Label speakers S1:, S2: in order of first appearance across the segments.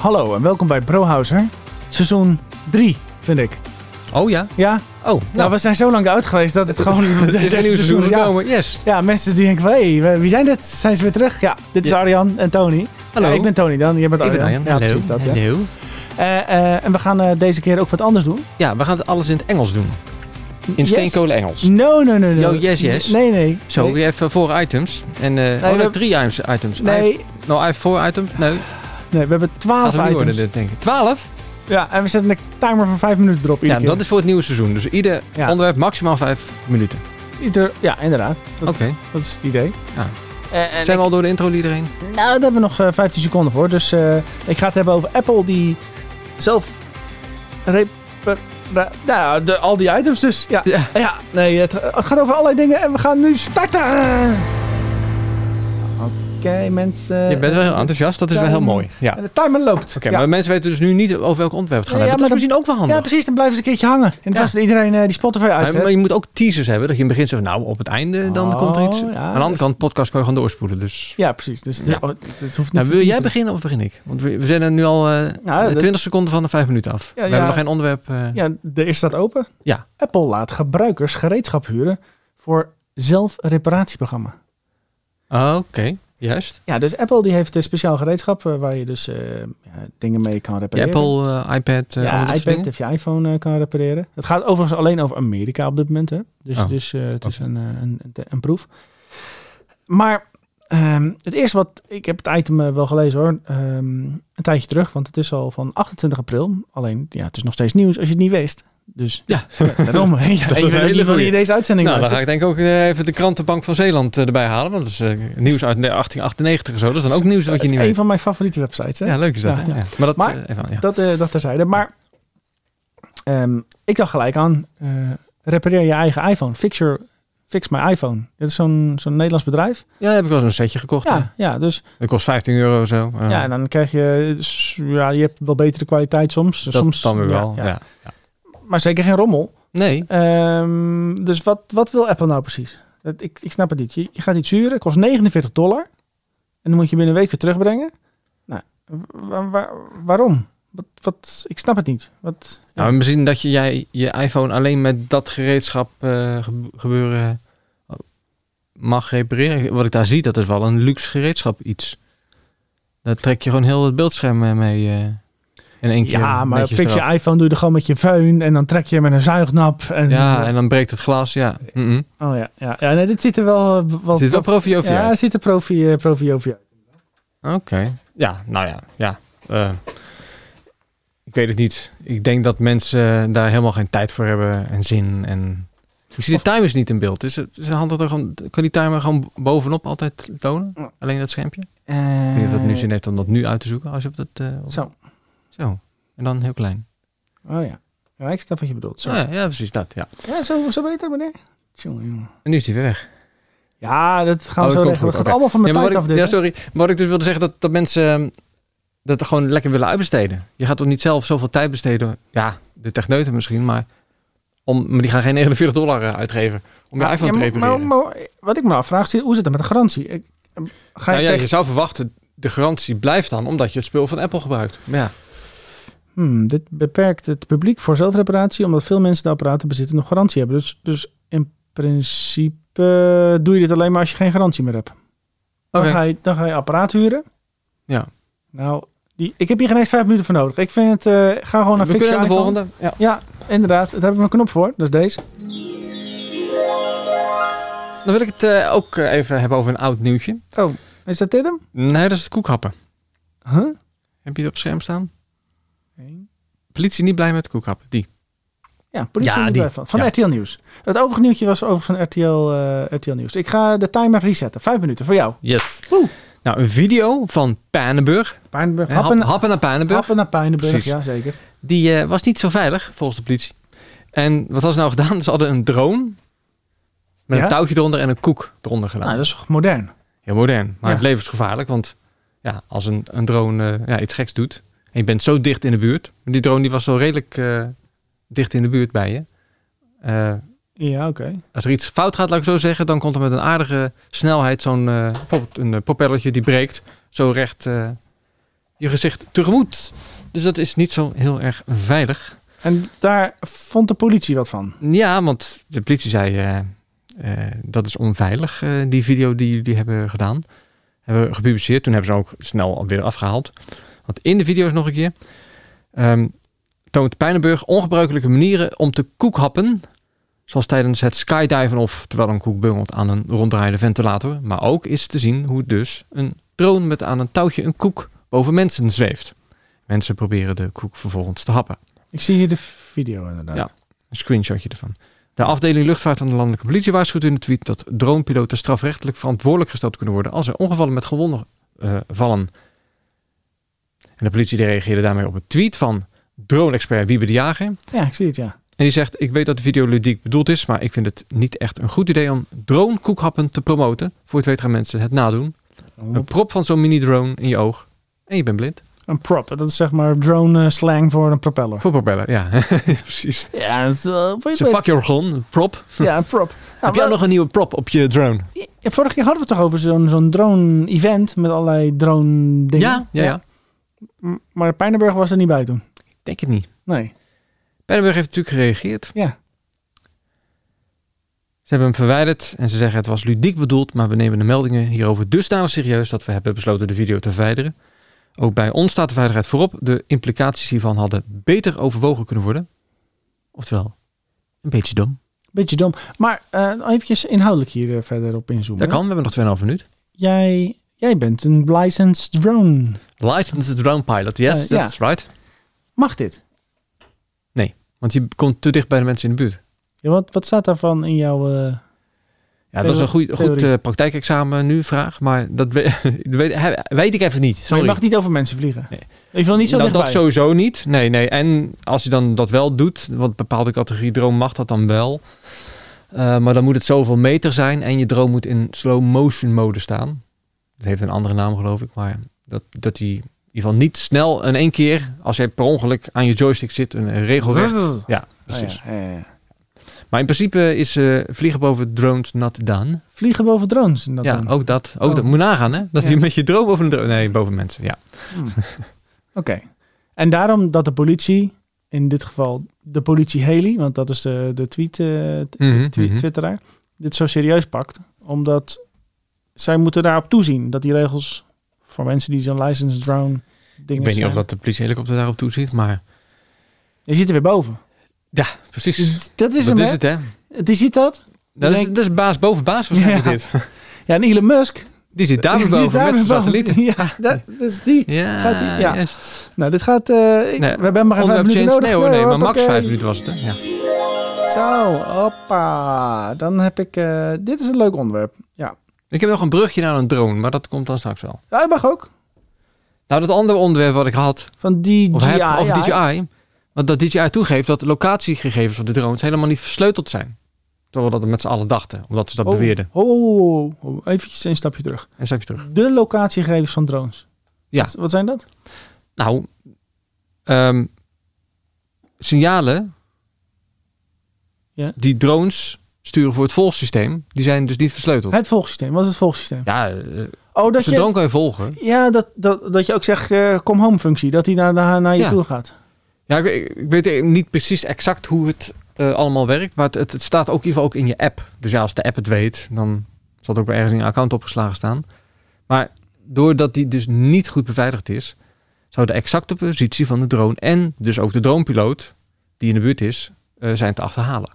S1: Hallo en welkom bij Brohouser. Seizoen 3, vind ik.
S2: Oh ja?
S1: Ja, nou,
S2: Oh, nou.
S1: we zijn zo lang uit geweest dat het gewoon...
S2: er is een nieuw seizoen
S1: ja,
S2: gekomen. Yes.
S1: ja, mensen die denken van, hé, hey, wie zijn dit? Zijn ze weer terug? Ja, dit is
S2: Ja.
S1: Arjan en Tony.
S2: Hallo.
S1: Ja, ik ben Tony dan, jij bent
S2: Ik ben
S1: Arjan.
S2: Arjan.
S1: Ja,
S2: Hallo.
S1: precies dat. Ja.
S2: Hallo.
S1: Eh, eh, en we gaan eh, deze keer ook wat anders doen.
S2: Ja, we gaan het alles in het Engels doen. In
S1: Yes.
S2: steenkolen Engels.
S1: No, no, no, no.
S2: Yo, yes, yes.
S1: Nee, nee.
S2: Zo,
S1: nee.
S2: we have uh, four items. En, eh oh,
S1: we-
S2: nee, drie items. items. I
S1: Nee,
S2: have, no, I have four items. Nee,
S1: nee, we hebben
S2: gaat
S1: twaalf
S2: er
S1: items.
S2: niet worden dit, denk ik. Twaalf?
S1: Ja, en we zetten een timer van vijf minuten erop
S2: Ja,
S1: iedere
S2: dat
S1: keer.
S2: is voor het nieuwe seizoen. Dus ieder
S1: Ja.
S2: onderwerp maximaal vijf minuten.
S1: Ieder, ja, inderdaad. Dat,
S2: Oké.
S1: dat is het idee.
S2: Ja.
S1: Eh, en
S2: Ah. Zijn we al door de intro hierheen?
S1: Nou, daar hebben we nog eh, 15 seconden voor. Dus eh, ik ga het hebben over Apple die zelf... reper- ra- Nou, de, al die items dus. Ja,
S2: Ja.
S1: ja nee, het, het gaat over allerlei dingen en we gaan nu starten. Oké, mensen.
S2: Je bent wel heel enthousiast. Dat is wel heel mooi. Ja.
S1: En
S2: Oké,
S1: de timer loopt. ja.
S2: maar mensen weten dus nu niet over welk onderwerp we het gaan
S1: Nee, ja,
S2: hebben. dat is
S1: maar
S2: misschien ook wel handig.
S1: ja, precies. Dan blijven ze een keertje hangen. En
S2: Ja.
S1: dan is iedereen eh, die Spotify
S2: Maar,
S1: uitzet.
S2: maar je moet ook teasers hebben. Dat je in het begin zegt, nou, op het einde dan
S1: Oh,
S2: komt er iets.
S1: ja,
S2: Aan de andere
S1: dus-
S2: kant, podcast kan je gewoon doorspoelen. Dus
S1: Ja, precies. Dus
S2: Ja.
S1: oh, het- het hoeft niet
S2: Nou,
S1: te
S2: wil jij
S1: kiezen.
S2: beginnen of begin ik? Want we, we zijn er nu al eh,
S1: Nou, dat-
S2: 20 seconden van de 5 minuten af. we
S1: ja.
S2: hebben nog geen onderwerp. eh,
S1: Ja, er is dat open.
S2: Ja.
S1: Apple laat gebruikers gereedschap huren voor zelfreparatieprogramma.
S2: Ah, Oké, juist.
S1: Ja, dus Apple die heeft een speciaal gereedschap eh, waar je dus eh, ja, dingen mee kan
S2: Je
S1: repareren.
S2: Apple, eh, iPad, eh
S1: ja,
S2: allemaal dat soort
S1: iPad
S2: dingen.
S1: of je iPhone eh, kan repareren. Het gaat overigens alleen over Amerika op dit moment. Hè? Dus,
S2: Oh,
S1: dus eh, het is
S2: oké.
S1: een, eh, een, een, een proef. Maar ehm, het eerste wat... Ik heb het item eh, wel gelezen hoor. ehm, een tijdje terug, want het is al van 28 april. Alleen, ja, het is nog steeds nieuws als je het niet wist. Dus
S2: Ja,
S1: daarom. Ja, ik
S2: een
S1: weet ook
S2: hele
S1: niet wanneer
S2: goeie.
S1: je deze uitzending
S2: nou dan ga
S1: luistert.
S2: ik denk ik ook eh, even de krantenbank van Zeeland eh, erbij halen. Want dat is eh, nieuws uit 1898 of zo. Dat is dan ook nieuws wat je niet
S1: Het is
S2: weet.
S1: een van mijn favoriete websites. Hè?
S2: Ja, leuk is dat.
S1: Ja,
S2: hè?
S1: ja.
S2: Ja. Maar dat,
S1: Maar-
S2: eh, even aan, ja.
S1: Dat, eh dat terzijde. Maar ehm, ik dacht gelijk aan, eh, repareer je eigen iPhone. Fix, your, fix my iPhone. Dit is zo'n zo'n Nederlands bedrijf.
S2: ja, heb ik wel eens een setje gekocht.
S1: Ja,
S2: hè.
S1: ja, dus
S2: Dat kost 15 euro of zo. Eh,
S1: ja, nou, en dan krijg je, dus, ja, je hebt wel betere kwaliteit soms.
S2: dat
S1: dus soms
S2: dan weer
S1: ja,
S2: wel.
S1: ja.
S2: Ja,
S1: Maar zeker geen rommel.
S2: Nee,
S1: Ehm, dus wat, wat wil Apple nou precies? Dat, ik, ik snap het niet. Je, je gaat iets huren, kost 49 dollar. En dan moet je binnen een week weer terugbrengen. Nou, wa- wa- waarom? Wat, wat, ik snap het niet. Wat,
S2: Ja, maar Nou, misschien dat je jij je iPhone alleen met dat gereedschap eh, gebe- gebeuren eh, mag repareren. Wat ik daar zie, dat is wel een luxe gereedschap iets. Daar trek je gewoon heel het beeldscherm eh, mee eh, in één keer.
S1: Ja, maar
S2: netjes
S1: fix je
S2: eraf.
S1: iPhone, doe je er gewoon met je föhn en dan trek je hem met een zuignap. En,
S2: Ja, en dan breekt het glas. Ja, mm -mm.
S1: Oh ja, ja. ja nee, dit ziet er wel... eh, wel
S2: Het zit wel profi over je
S1: Ja,
S2: uit.
S1: het ziet er profi, eh, profi over je uit.
S2: Oké. Ja, nou ja, ja. Eh, ik weet het niet. Ik denk dat mensen daar helemaal geen tijd voor hebben en zin en. Ik zie de timers niet in beeld. Is het is het handig dat gewoon kan die timer gewoon bovenop altijd tonen?
S1: Ja.
S2: Alleen dat schermpje. Ik weet niet of dat nu zin heeft om dat nu uit te zoeken als je op dat eh, op-
S1: Eh, Zo.
S2: zo. En dan heel klein.
S1: Oh ja. Ja, ik snap wat je bedoelt. Zo.
S2: Ja, ja, precies dat. Ja.
S1: Ja, zo, zo beter, meneer. Tjonge, jonge.
S2: En nu is die weer weg.
S1: Ja, dat gaan we
S2: Oh,
S1: zo
S2: dat komt
S1: regelen.
S2: goed,
S1: Het gaat
S2: oké.
S1: allemaal van
S2: Ja,
S1: mijn
S2: maar
S1: tijd
S2: wat
S1: af.
S2: ik,
S1: dit,
S2: ja,
S1: hè?
S2: sorry. Maar wat ik dus wilde zeggen dat dat mensen ehm, dat gewoon lekker willen uitbesteden. Je gaat toch niet zelf zoveel tijd besteden. Ja, de techneuten misschien, maar om, maar die gaan geen 49 dollar eh, uitgeven om je
S1: Ja,
S2: iPhone te
S1: maar-
S2: repareren.
S1: maar- maar wat ik me afvraag, is, hoe zit het met de garantie? Ik- ehm, Ga je
S2: nou ja,
S1: tegen-
S2: je zou verwachten de garantie blijft dan omdat je het spul van Apple gebruikt. Maar ja.
S1: Hmm, dit beperkt het publiek voor zelfreparatie, omdat veel mensen de apparaten bezitten nog garantie hebben. Dus, dus in principe eh, doe je dit alleen maar als je geen garantie meer hebt. Dan,
S2: Oké.
S1: ga, je, dan ga je apparaat huren.
S2: Ja.
S1: Nou, die, ik heb hier geen eens vijf minuten voor nodig. Ik vind het, eh, ga gewoon naar
S2: We kunnen
S1: Fix
S2: naar
S1: Your
S2: de
S1: iPhone.
S2: volgende. Ja.
S1: Ja, inderdaad. Daar hebben we een knop voor. Dat is deze.
S2: Dan wil ik het eh, ook eh, even hebben over een oud nieuwtje.
S1: Oh, Is dat dit hem?
S2: Nee, dat is het koekhappen.
S1: Huh?
S2: Heb je het op scherm staan? Politie niet blij met koekhappen. Die.
S1: Ja, politie
S2: Ja,
S1: moet
S2: die.
S1: blijven. van
S2: Ja.
S1: RTL Nieuws. Het overige nieuwtje was overigens van RTL, eh, RTL Nieuws. Ik ga de timer resetten. Vijf minuten voor jou.
S2: Yes.
S1: Oeh.
S2: Nou, een video van Pijnenburg.
S1: Pijnenburg.
S2: Happen,
S1: Happen,
S2: happen naar Pijnenburg.
S1: happen naar Pijnenburg.
S2: Precies.
S1: Ja, zeker.
S2: Die eh, was niet zo veilig, volgens de politie. En wat hadden ze nou gedaan? Ze hadden een drone met
S1: Ja?
S2: een touwtje eronder en een koek eronder gedaan.
S1: Nou, dat is toch modern?
S2: Heel modern, maar
S1: Ja.
S2: het levensgevaarlijk. Want ja, als een, een drone eh, ja, iets geks doet en je bent zo dicht in de buurt. Maar die drone die was wel redelijk eh, dicht in de buurt bij je. Eh,
S1: Ja, oké.
S2: als er iets fout gaat, laat ik zo zeggen, dan komt er met een aardige snelheid zo'n, eh, bijvoorbeeld een eh, propellertje die breekt, zo recht eh, je gezicht tegemoet. Dus dat is niet zo heel erg veilig.
S1: En daar vond de politie wat van.
S2: Ja, want de politie zei eh, eh, dat is onveilig, eh, die video die jullie hebben gedaan. Hebben we gepubliceerd. Toen hebben ze hem ook snel weer afgehaald. Want in de video's nog een keer ehm, toont Pijnenburg ongebruikelijke manieren om te koekhappen. Zoals tijdens het skydiven of terwijl een koek bungelt aan een ronddraaiende ventilator. Maar ook is te zien hoe dus een drone met aan een touwtje een koek boven mensen zweeft. Mensen proberen de koek vervolgens te happen
S1: Ik zie hier de video inderdaad.
S2: Ja. een screenshotje ervan. De afdeling luchtvaart aan de landelijke politie waarschuwt in de tweet dat dronepiloten strafrechtelijk verantwoordelijk gesteld kunnen worden als er ongevallen met gewonden eh, vallen. En de politie die reageerde daarmee op een tweet van drone-expert Wiebe de Jager.
S1: Ja, ik zie het, ja.
S2: En die zegt, ik weet dat de video ludiek bedoeld is, maar ik vind het niet echt een goed idee om drone-koekhappen te promoten. Voor het weet gaan mensen het nadoen. Een prop van zo'n mini-drone in je oog en je bent blind.
S1: Een prop, dat is zeg maar drone eh, slang voor een propeller.
S2: Voor propeller, ja. Precies.
S1: Ja, dat is, eh, voor je
S2: Ze
S1: het weet-
S2: fuck your gun, een prop.
S1: ja, een prop. Nou,
S2: Heb jij
S1: wel-
S2: nog een nieuwe prop op je drone?
S1: Ja, Vorige keer hadden we het toch over zo'n zo'n drone-event met allerlei drone-dingen.
S2: Ja, ja, ja.
S1: M- Maar Pijnenburg was er niet bij toen.
S2: Denk het niet.
S1: Nee.
S2: Pijnenburg heeft natuurlijk gereageerd.
S1: Ja.
S2: Ze hebben hem verwijderd en ze zeggen het was ludiek bedoeld, maar we nemen de meldingen hierover dusdanig serieus dat we hebben besloten de video te verwijderen. Ook bij ons staat de veiligheid voorop. De implicaties hiervan hadden beter overwogen kunnen worden. Oftewel, een beetje dom.
S1: Beetje dom. Maar even eventjes inhoudelijk hier eh, verder op inzoomen.
S2: Dat kan, we hebben nog 2,5 minuut.
S1: Jij, jij bent een licensed drone.
S2: Licensed drone pilot, yes,
S1: Eh, ja.
S2: that's right.
S1: Mag dit?
S2: Want je komt te dicht bij de mensen in de buurt.
S1: Ja, wat, wat staat daarvan in jouw... eh,
S2: Ja, dat is een goed, goed
S1: Theorie.
S2: eh, praktijkexamen nu, vraag. Maar dat weet, weet, weet ik even niet.
S1: Maar
S2: Sorry.
S1: je mag niet over mensen vliegen.
S2: Nee.
S1: Ik wil niet zo
S2: Nou, dat,
S1: dichtbij.
S2: dat sowieso niet. Nee, nee. En als je dan dat wel doet, want bepaalde categorie droom mag dat dan wel. Eh, maar dan moet het zoveel meter zijn en je droom moet in slow motion mode staan. Dat heeft een andere naam geloof ik, maar dat, dat die in ieder geval niet snel in één keer, als jij per ongeluk aan je joystick zit, een regelrecht.
S1: Oh,
S2: Ja,
S1: ja,
S2: precies.
S1: ja, ja, ja.
S2: Maar in principe is eh, vliegen boven drones not done.
S1: Vliegen boven drones. en Dat
S2: ja,
S1: dan.
S2: ook dat. Ook
S1: Oh.
S2: dat moet nagaan hè, dat
S1: Ja.
S2: je met je droom boven een drone, nee, boven mensen, ja.
S1: Hmm. Oké. En daarom dat de politie, in dit geval de politie Haley, want dat is de, de tweet, eh, t-
S2: Mhm,
S1: twi-
S2: mhm.
S1: twitteraar, dit zo serieus pakt. Omdat zij moeten daarop toezien dat die regels voor mensen die zo'n licensed drone
S2: Ik
S1: dingen
S2: weet niet
S1: zijn.
S2: of dat de politiehelikopter daarop toeziet, maar
S1: Je zit er weer boven.
S2: precies.
S1: Dat is
S2: dat
S1: hem,
S2: is
S1: hè?
S2: het hè.
S1: Het is ziet dat?
S2: Dat is,
S1: Denk-
S2: dat is baas boven baas waarschijnlijk
S1: Ja.
S2: dit.
S1: Ja, en Elon Musk.
S2: Die zit daar weer
S1: die zit
S2: boven
S1: daar
S2: met zijn
S1: weer boven.
S2: satellieten.
S1: Ja, dat, dat is die.
S2: Ja,
S1: Gaat die- ja.
S2: juist.
S1: Nou, dit gaat... eh, ik-
S2: Nee,
S1: we hebben maar vijf
S2: Onderwerp
S1: minuten
S2: change.
S1: nodig. eh,
S2: Nee hoor, nee, maar max
S1: hoppakee.
S2: vijf minuten was het. Hè? Ja.
S1: Zo, hoppa. Dan heb ik... eh, dit is een leuk onderwerp.
S2: Ik heb nog een brugje naar een drone, maar dat komt dan straks wel.
S1: Ja, dat mag ook.
S2: Nou, dat andere onderwerp wat ik had,
S1: Van DJI.
S2: of heb, of
S1: ja.
S2: DJI. Want dat DJI toegeeft dat de locatiegegevens van de drones helemaal niet versleuteld zijn. Terwijl we dat met z'n allen dachten, omdat ze dat
S1: Oh,
S2: beweerden.
S1: Oh, oh, oh, oh. even een stapje terug.
S2: En stap je terug.
S1: De locatiegegevens van drones.
S2: Ja.
S1: Wat, wat zijn dat?
S2: Nou, ehm, signalen
S1: Ja.
S2: die drones sturen voor het volgsysteem, die zijn dus niet versleuteld.
S1: Het volgsysteem. Wat is het volgsysteem?
S2: Ja, eh,
S1: Oh, dat
S2: zo'n drone
S1: je...
S2: kan je volgen.
S1: Ja, dat, dat, dat je ook zegt, eh kom home functie. Dat hij naar, naar, naar je
S2: Ja.
S1: toe gaat.
S2: Ja, ik, ik weet niet precies exact hoe het eh, allemaal werkt, maar het, het, het staat ook in ieder geval ook in je app. Dus ja, als de app het weet, dan zal het ook wel ergens in je account opgeslagen staan. Maar doordat die dus niet goed beveiligd is, zou de exacte positie van de drone en dus ook de dronepiloot die in de buurt is, eh, zijn te achterhalen.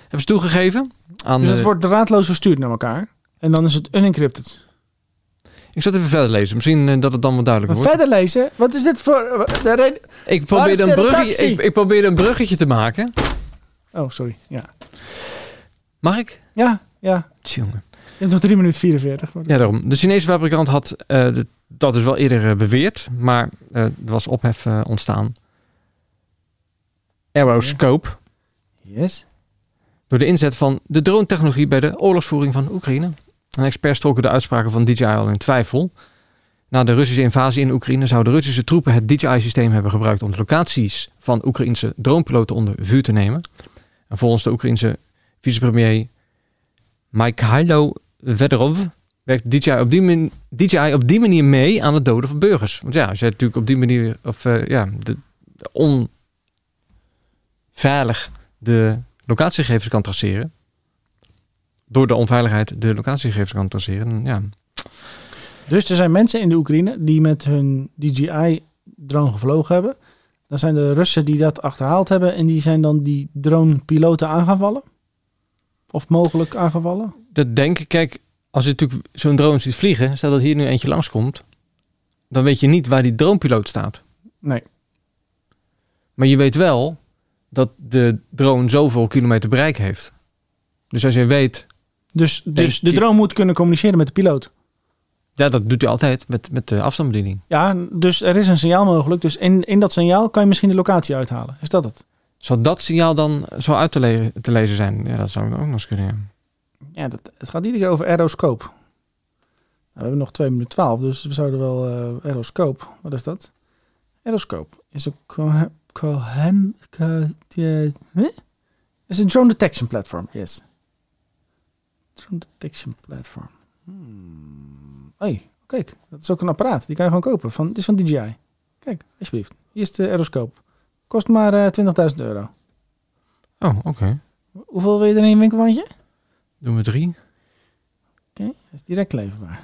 S2: Hebben ze toegegeven aan eh,
S1: Dus
S2: de-
S1: het wordt draadloos verstuurd naar elkaar. En dan is het unencrypted.
S2: Ik zat even verder lezen, misschien eh, dat het dan wat
S1: Maar
S2: duidelijker wordt.
S1: verder lezen. Wat is dit voor... eh, De reden...
S2: Ik
S1: Waar is
S2: probeerde, een
S1: de
S2: bruggetje,
S1: redactie?
S2: ik, ik probeerde een bruggetje te maken.
S1: Oh, sorry. Ja.
S2: Mag ik?
S1: Ja, ja.
S2: Tjonge.
S1: Je hebt nog 3 minuten 44. voor de-
S2: Ja, daarom. De Chinese fabrikant had eh, de- dat dus wel eerder eh, beweerd, maar eh, er was ophef eh, ontstaan. Aeroscope
S1: Yes.
S2: door de inzet van de drone-technologie bij de oorlogsvoering van Oekraïne. Een experts trokken de uitspraken van DJI al in twijfel. Na de Russische invasie in Oekraïne zouden Russische troepen het DJI-systeem hebben gebruikt om de locaties van Oekraïnse dronepiloten onder vuur te nemen. En volgens de Oekraïnse vicepremier Mikhailo Vederov werkt DJI op, die min- DJI op die manier mee aan het doden van burgers. Want ja, als jij natuurlijk op die manier, of eh, ja, de, de onveilig de locatiegegevens kan traceren, door de onveiligheid de locatiegegevens kan traceren, dan ja.
S1: Dus er zijn mensen in de Oekraïne die met hun DJI-drone gevlogen hebben. Dan zijn de Russen die dat achterhaald hebben en die zijn dan die drone-piloten aangevallen. Of mogelijk aangevallen.
S2: Dat denk ik, kijk, als je natuurlijk zo'n drone ziet vliegen, stel dat hier nu eentje langskomt, dan weet je niet waar die dronepiloot staat.
S1: Nee.
S2: Maar je weet wel dat de drone zoveel kilometer bereik heeft. Dus als je weet,
S1: Dus, dus de
S2: die-
S1: drone moet kunnen communiceren met de piloot.
S2: ja, dat doet hij altijd met, met de afstandsbediening.
S1: Ja, dus er is een signaal mogelijk. Dus in, in dat signaal kan je misschien de locatie uithalen. Is dat het?
S2: Zou dat signaal dan zo uit te, le- te lezen zijn? Ja, dat zou ik ook nog eens kunnen. ja.
S1: Ja, dat, het gaat iedere keer over aeroscoop. Nou, we hebben nog 2 minuten 12, dus we zouden wel eh aeroscoop. Wat is dat? Aeroscoop is een cohe- cohem- co- die- hè? is een drone detection platform. Yes. Drone detection platform. Hmm. Hey, kijk, dat is ook een apparaat. Die kan je gewoon kopen. Van, dit is van DJI. Kijk, alsjeblieft. Hier is de aeroscoop. Kost maar eh, 20.000 euro.
S2: Oh, oké.
S1: Hoeveel wil je er in een winkelwandje?
S2: Doen we drie.
S1: Dat is direct leverbaar.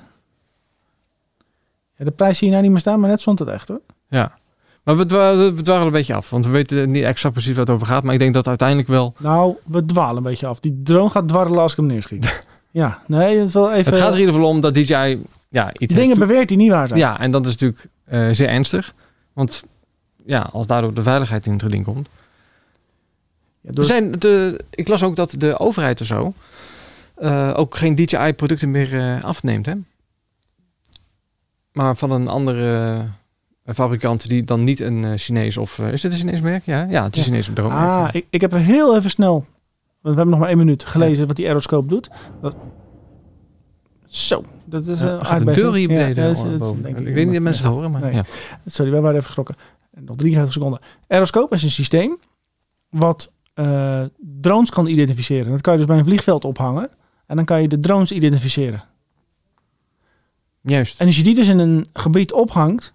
S1: Ja, de prijs zie je nou niet meer staan, maar net stond het echt hoor.
S2: Ja. Maar we dwa- we dwalen een beetje af, want we weten niet exact precies waar het over gaat. Maar ik denk dat uiteindelijk wel.
S1: Nou, we dwalen een beetje af. Die drone gaat dwarrelen als ik hem neerschiet. ja, nee, dat wil even...
S2: Het gaat er in ieder geval om dat DJI ja, iets
S1: Dingen
S2: heeft
S1: beweert die niet waar zijn.
S2: Ja, en dat is natuurlijk eh, zeer ernstig. Want ja, als daardoor de veiligheid in het geding komt.
S1: Ja,
S2: Er
S1: door-
S2: zijn de, ik las ook dat de overheid en zo eh, ook geen DJI-producten meer eh, afneemt. Hè? Maar van een andere eh, fabrikant die dan niet een eh, Chinees of... eh, is dit een Chinees merk? Ja, ja het is
S1: Ja.
S2: een Chinees bedrijf.
S1: Ah, ik, ik heb heel even snel, want we hebben nog maar één minuut gelezen wat die aeroscoop doet. Dat- Zo, dat is
S2: Ja,
S1: een
S2: gaat de
S1: aardbeving.
S2: deur hier
S1: Ja,
S2: beneden?
S1: dat is- dat is-
S2: boven?
S1: denk
S2: ik, denk niet dat mensen
S1: ja.
S2: het horen, maar
S1: Nee.
S2: ja.
S1: Sorry, wij waren even geschrokken. Nog 33 seconden. Aeroscoop is een systeem wat eh, drones kan identificeren. Dat kan je dus bij een vliegveld ophangen. En dan kan je de drones identificeren.
S2: Juist.
S1: En als je die dus in een gebied ophangt,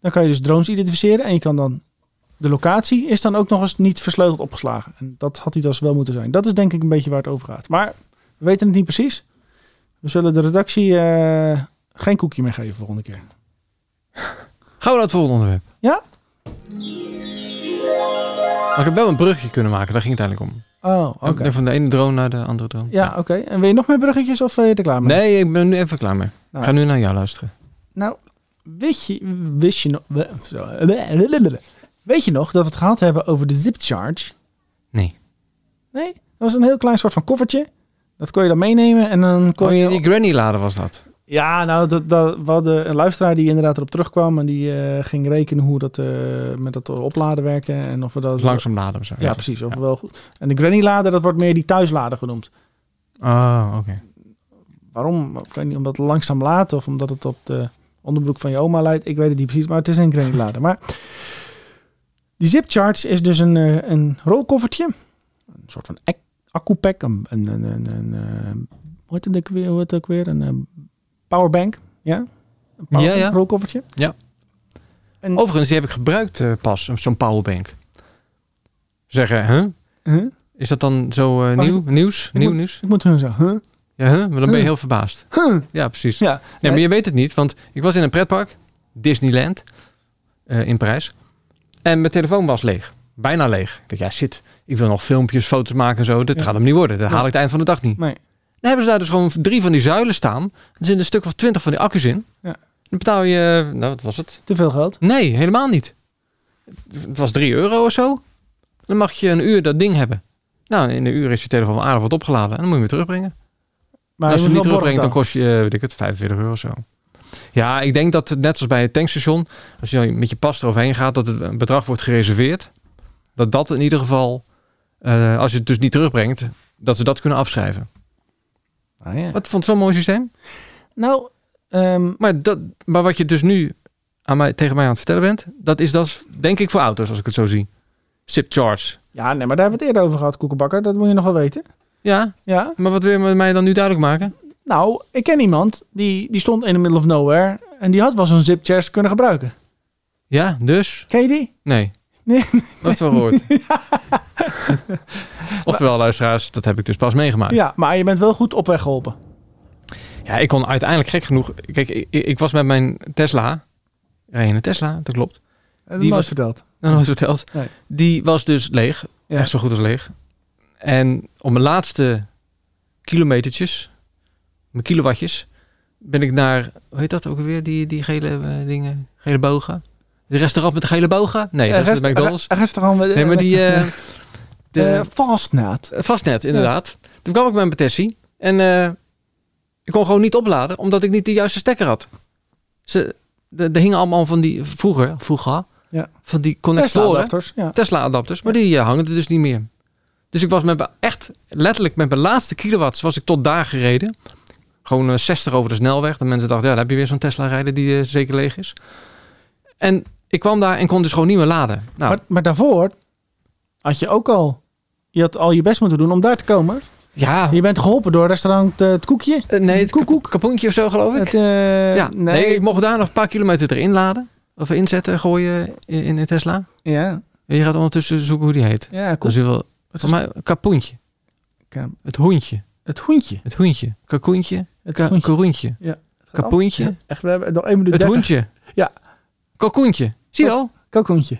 S1: dan kan je dus drones identificeren. En je kan dan. De locatie is dan ook nog eens niet versleuteld opgeslagen. En dat had hij dus wel moeten zijn. Dat is denk ik een beetje waar het over gaat. Maar we weten het niet precies. We zullen de redactie eh, geen koekje meer geven volgende keer.
S2: Gaan we naar het volgende onderwerp.
S1: Ja?
S2: Maar ik heb wel een brugje kunnen maken, daar ging het eigenlijk om.
S1: Oh, oké.
S2: Van de ene drone naar de andere drone.
S1: Ja, oké. En wil je nog meer bruggetjes of ben je er klaar mee?
S2: Nee, ik ben nu even klaar mee.
S1: Nou.
S2: Ik ga nu naar jou luisteren.
S1: Nou, wist je, wist je nog... zo, Weet je nog dat we het gehad hebben over de zip charge?
S2: Nee.
S1: Nee? Dat was een heel klein soort van koffertje. Dat kon je dan meenemen en dan kon
S2: Oh,
S1: je...
S2: je, die granny lader was dat.
S1: Ja, nou, dat, dat, we hadden een luisteraar die inderdaad erop terugkwam... en die eh, ging rekenen hoe dat eh, met dat opladen werkte en of we dat...
S2: Langzaam laden of zo.
S1: Ja, precies. Of we wel goed. En de granny lader, dat wordt meer die thuislader genoemd.
S2: Oh, oké.
S1: Waarom? Ik weet niet, omdat het langzaam laat of omdat het op de onderbroek van je oma leidt. Ik weet het niet precies, maar het is een granny lader. Maar die zip charge is dus een, eh, een rolkoffertje. Een soort van ac- accupack. Een, een, een, een, een, eh, hoe heet het ook weer? Hoe heet het ook weer? Een eh, powerbank. Ja? Een powerbank
S2: Ja, ja.
S1: rolkoffertje.
S2: Overigens, die heb ik gebruikt eh, pas, zo'n powerbank. Zeggen, huh?
S1: Huh?
S2: Is dat dan zo eh,
S1: Mag
S2: nieuw, nieuws? nieuw
S1: moet-
S2: nieuws?
S1: Dus Ik moet hun zeggen. Huh?
S2: Ja, huh? Maar dan ben
S1: Huh?
S2: je heel verbaasd. Ja, precies.
S1: Ja.
S2: Nee, maar je weet het niet, want ik was in een pretpark, Disneyland, eh, in Parijs. En mijn telefoon was leeg. Bijna leeg. Ik dacht, ja shit, ik wil nog filmpjes, foto's maken en zo. Dat
S1: Ja.
S2: gaat hem niet worden. Dat
S1: Ja.
S2: haal ik het eind van de dag niet.
S1: Nee.
S2: Dan hebben ze daar dus gewoon drie van die zuilen staan. Er zitten een stuk of twintig van die accu's in.
S1: Ja.
S2: Dan betaal je, nou wat was het?
S1: Te veel geld.
S2: Nee, helemaal niet. Het was 3 euro of zo. Dan mag je een uur dat ding hebben. Nou, in een uur is je telefoon wel aardig wat opgeladen. En dan moet je hem weer terugbrengen.
S1: Maar
S2: En als je hem
S1: moet
S2: niet
S1: wel
S2: terugbrengt, dan
S1: borgen
S2: kost je, eh, weet ik het, 45 euro of zo. Ja, ik denk dat het net zoals bij het tankstation, als je met je pas eroverheen gaat, dat het een bedrag wordt gereserveerd. Dat dat in ieder geval, eh, als je het dus niet terugbrengt, dat ze dat kunnen afschrijven.
S1: dan. Ah, ja.
S2: Wat vond het zo'n mooi systeem?
S1: Nou, ehm,
S2: Maar, dat, maar wat je dus nu aan mij, tegen mij aan het vertellen bent, dat is dat denk ik voor auto's, als ik het zo zie. Sip charge.
S1: ja, nee, maar daar hebben we het eerder over gehad, Koekenbakker. Dat moet je nog wel weten.
S2: Ja,
S1: Ja,
S2: maar wat wil je met mij dan nu duidelijk maken?
S1: Nou, ik ken iemand die, die stond in the middle of nowhere en die had wel zo'n zip chairs kunnen gebruiken.
S2: Ja, dus?
S1: Ken je die?
S2: Nee.
S1: Nee.
S2: Dat wel gehoord. Oftewel, luisteraars, dat heb ik dus pas meegemaakt.
S1: Ja, maar je bent wel goed op weg geholpen.
S2: Ja, ik kon uiteindelijk gek genoeg... Kijk, ik, ik was met mijn Tesla... Rij je een Tesla? Dat klopt.
S1: Dat
S2: Die
S1: die
S2: was-
S1: was verteld.
S2: Dat nooit verteld.
S1: Nee.
S2: Die was dus leeg.
S1: Ja.
S2: Echt zo goed als leeg. En op mijn laatste kilometertjes, mijn kilowattjes, ben ik naar, hoe heet dat ook alweer, die, die gele eh, dingen, gele bogen? De restaurant met de gele bogen? Nee, dat is de McDonald's.
S1: Restaurant met,
S2: Nee, maar die, eh, de,
S1: de fastnaad.
S2: eh, vastnet inderdaad. Toen kwam ik met mijn Tessie en eh, ik kon gewoon niet opladen, omdat ik niet de juiste stekker had. Ze, de, de hingen allemaal van die, vroeger, vroeger,
S1: Ja.
S2: van die
S1: Tesla
S2: connectoren.
S1: adapters, ja.
S2: Tesla-adapters, maar die eh, hangen er dus niet meer. Dus ik was met mijn, echt letterlijk met mijn laatste kilowatts was ik tot daar gereden. Gewoon eh, 60 over de snelweg. De mensen dachten, ja, daar heb je weer zo'n Tesla-rijder die eh, zeker leeg is. En ik kwam daar en kon dus gewoon niet meer laden. Nou,
S1: Maar, maar daarvoor had je ook al... Je had al je best moeten doen om daar te komen.
S2: ja,
S1: Je bent geholpen door restaurant eh, Het Koekje.
S2: eh, nee, het
S1: Koek, koek.
S2: kap- kapoentje of zo geloof ik.
S1: Het, eh,
S2: ja, nee. ik mocht daar nog een paar kilometer erin laden. Of inzetten, gooien in, in een Tesla.
S1: Ja,
S2: En je gaat ondertussen zoeken hoe die heet.
S1: ja
S2: Dat
S1: koek.
S2: is wel,
S1: Het,
S2: voor
S1: is-
S2: mij, een kapoentje.
S1: Ka-
S2: Het hoentje.
S1: het hoentje.
S2: Het hoentje. Kakoentje.
S1: Het
S2: Ka-
S1: hoentje.
S2: Karoentje.
S1: Ja.
S2: Kapoentje.
S1: Echt, we hebben nog 1 minuut
S2: Het
S1: 30.
S2: hoentje.
S1: Ja.
S2: Kalkoentje. Zie je al?
S1: Kalkoentje.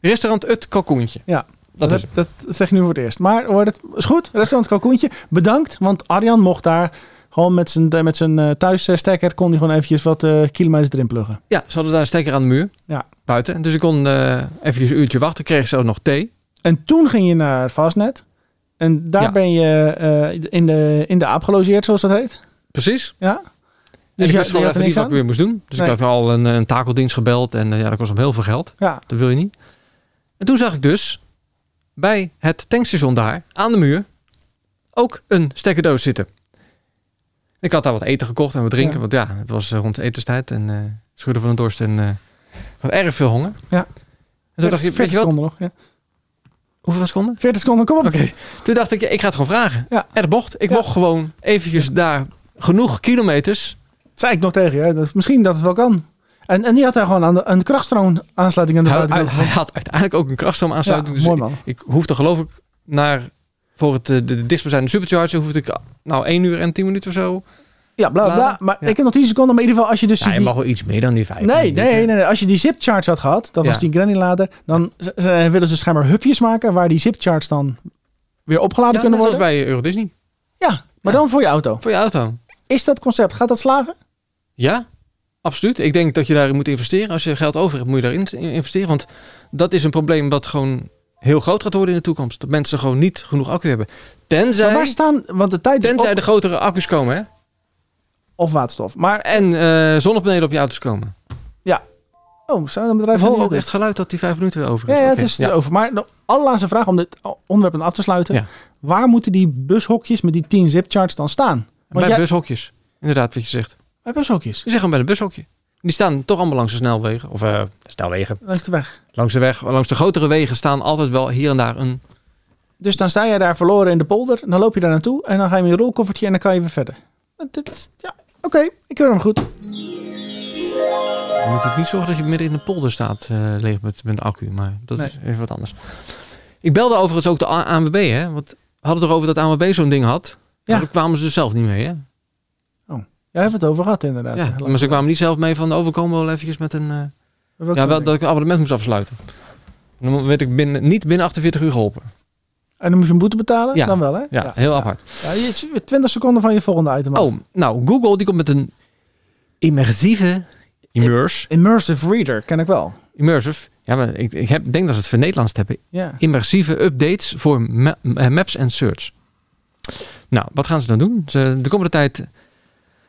S2: Restaurant Het Kalkoentje.
S1: Ja.
S2: Dat
S1: dat,
S2: is
S1: dat zeg ik nu voor het eerst. Maar hoor, het is goed. Restaurant Kalkoentje. Bedankt, want Arjan mocht daar gewoon met zijn, met zijn eh, thuisstekker... kon hij gewoon eventjes wat eh, kilometers erin pluggen.
S2: Ja, ze hadden daar een stekker aan de muur.
S1: Ja.
S2: Buiten. Dus ik kon eh even een uurtje wachten. Kreeg zelfs nog thee.
S1: En toen ging je naar Fastnet. En daar
S2: Ja.
S1: ben je eh, in, de, in de aap gelogeerd, zoals dat heet.
S2: Precies.
S1: Ja.
S2: Dus
S1: Dus je,
S2: ik wist
S1: je
S2: gewoon
S1: had er
S2: even niet
S1: niks
S2: wat ik
S1: aan?
S2: weer moest doen. Dus
S1: Nee.
S2: ik had al een, een takeldienst gebeld. En eh, ja, dat kost hem heel veel geld.
S1: Ja.
S2: Dat wil je niet. En toen zag ik dus bij het tankstation daar aan de muur ook een stekkerdoos zitten. Ik had daar wat eten gekocht en wat drinken.
S1: Ja.
S2: Want ja, het was eh, rond etenstijd en eh schudden van de dorst. En eh, ik had erg veel honger.
S1: Ja.
S2: En toen dacht ik,
S1: 40
S2: weet je wat?
S1: seconden nog. Ja.
S2: Hoeveel seconden?
S1: 40 seconden, kom op.
S2: Oké. Toen dacht ik, ja, ik ga het gewoon vragen.
S1: Ja.
S2: En dat mocht. Ik
S1: Ja.
S2: mocht gewoon eventjes daar genoeg kilometers.
S1: Zei ik nog tegen je. hè. Dat, misschien dat het wel kan. En, en die had daar gewoon aan de, een krachtstroom aansluiting aan de
S2: Hij,
S1: buitenkant.
S2: hij had uiteindelijk ook een krachtstroom
S1: ja,
S2: aansluiting. dus
S1: mooi man.
S2: Ik hoefde geloof ik naar voor het, eh, de, de dichtstbijzijnde supercharger hoefde ik nou 1 uur en 10 minuten of zo.
S1: Ja, bla bla.
S2: Laden?
S1: Maar
S2: Ja.
S1: ik heb nog 10 seconden. Maar in ieder geval, als je dus
S2: Ja, je
S1: die...
S2: mag wel iets meer dan die 5
S1: Nee, nee, nee, nee. Als je die zip charts had gehad, dat
S2: Ja.
S1: was die granny lader. Dan z- z- willen ze schijnbaar hupjes maken waar die zip charts dan weer opgeladen
S2: Ja, net
S1: kunnen
S2: zoals
S1: worden.
S2: bij eh, Euro Disney.
S1: Ja, maar
S2: Ja.
S1: dan voor je auto.
S2: Voor je auto.
S1: Is dat concept? Gaat dat slagen?
S2: Ja, absoluut. Ik denk dat je daarin moet investeren. Als je geld over hebt, moet je daarin in- investeren. Want dat is een probleem wat gewoon heel groot gaat worden in de toekomst. Dat mensen gewoon niet genoeg accu hebben.
S1: Maar
S2: Tenzij,
S1: waar staan, want de tijd is
S2: tenzij
S1: op,
S2: de grotere accu's komen. Hè?
S1: of waterstof. Maar,
S2: En eh, zonnepanelen op je auto's komen.
S1: oh, zijn er
S2: Ik
S1: bedrijven
S2: hoor
S1: die-
S2: ook echt geluid dat die vijf minuten weer over
S1: Ja,
S2: is.
S1: ja,
S2: Oké,
S1: het is erover. Maar de allerlaatste vraag om dit onderwerp dan af te sluiten.
S2: Ja.
S1: Waar moeten die bushokjes met die 10 zip charts dan staan?
S2: Bij
S1: Want jij-
S2: bushokjes. Inderdaad, wat je zegt.
S1: Bij bushokjes.
S2: Die zeggen bij een bushokje. Die staan toch allemaal langs de snelwegen. Of eh, snelwegen.
S1: Langs de weg.
S2: Langs de weg. Langs de grotere wegen staan altijd wel hier en daar een...
S1: Dus dan sta jij daar verloren in de polder. En dan loop je daar naartoe. En dan ga je met je rolkoffertje en dan kan je weer verder. Want Dit, ja, oké. ik hoor hem goed.
S2: Je moet ook niet zorgen dat je midden in de polder staat eh, leeg met, met de accu. Maar dat
S1: Nee.
S2: is even wat anders. Ik belde overigens ook de A- ANWB. Hè? Want we hadden het erover dat ANWB zo'n ding had.
S1: Ja.
S2: Maar daar kwamen ze dus zelf niet mee. Hè?
S1: Jij hebt het over gehad inderdaad.
S2: Ja,
S1: Lang-
S2: maar ze kwamen niet zelf mee van... Oh, we komen wel eventjes met een... eh,
S1: Welke
S2: ja, wel
S1: ding?
S2: dat ik een abonnement moest afsluiten. En Dan werd ik binnen, niet binnen 48 uur geholpen.
S1: En dan moest je een boete betalen?
S2: Ja.
S1: Dan wel, hè?
S2: Ja,
S1: ja.
S2: heel apart.
S1: Ja, je is weer 20 seconden van je volgende item af.
S2: Oh, nou, Google die komt met een immersieve... Immerse.
S1: Immersive Reader ken ik wel.
S2: Immersive. Ja, maar ik, ik heb, denk dat ze het vernederlandst hebben.
S1: Ja.
S2: Immersieve updates voor ma- eh, maps en search. Nou, wat gaan ze dan doen? Ze, de komende tijd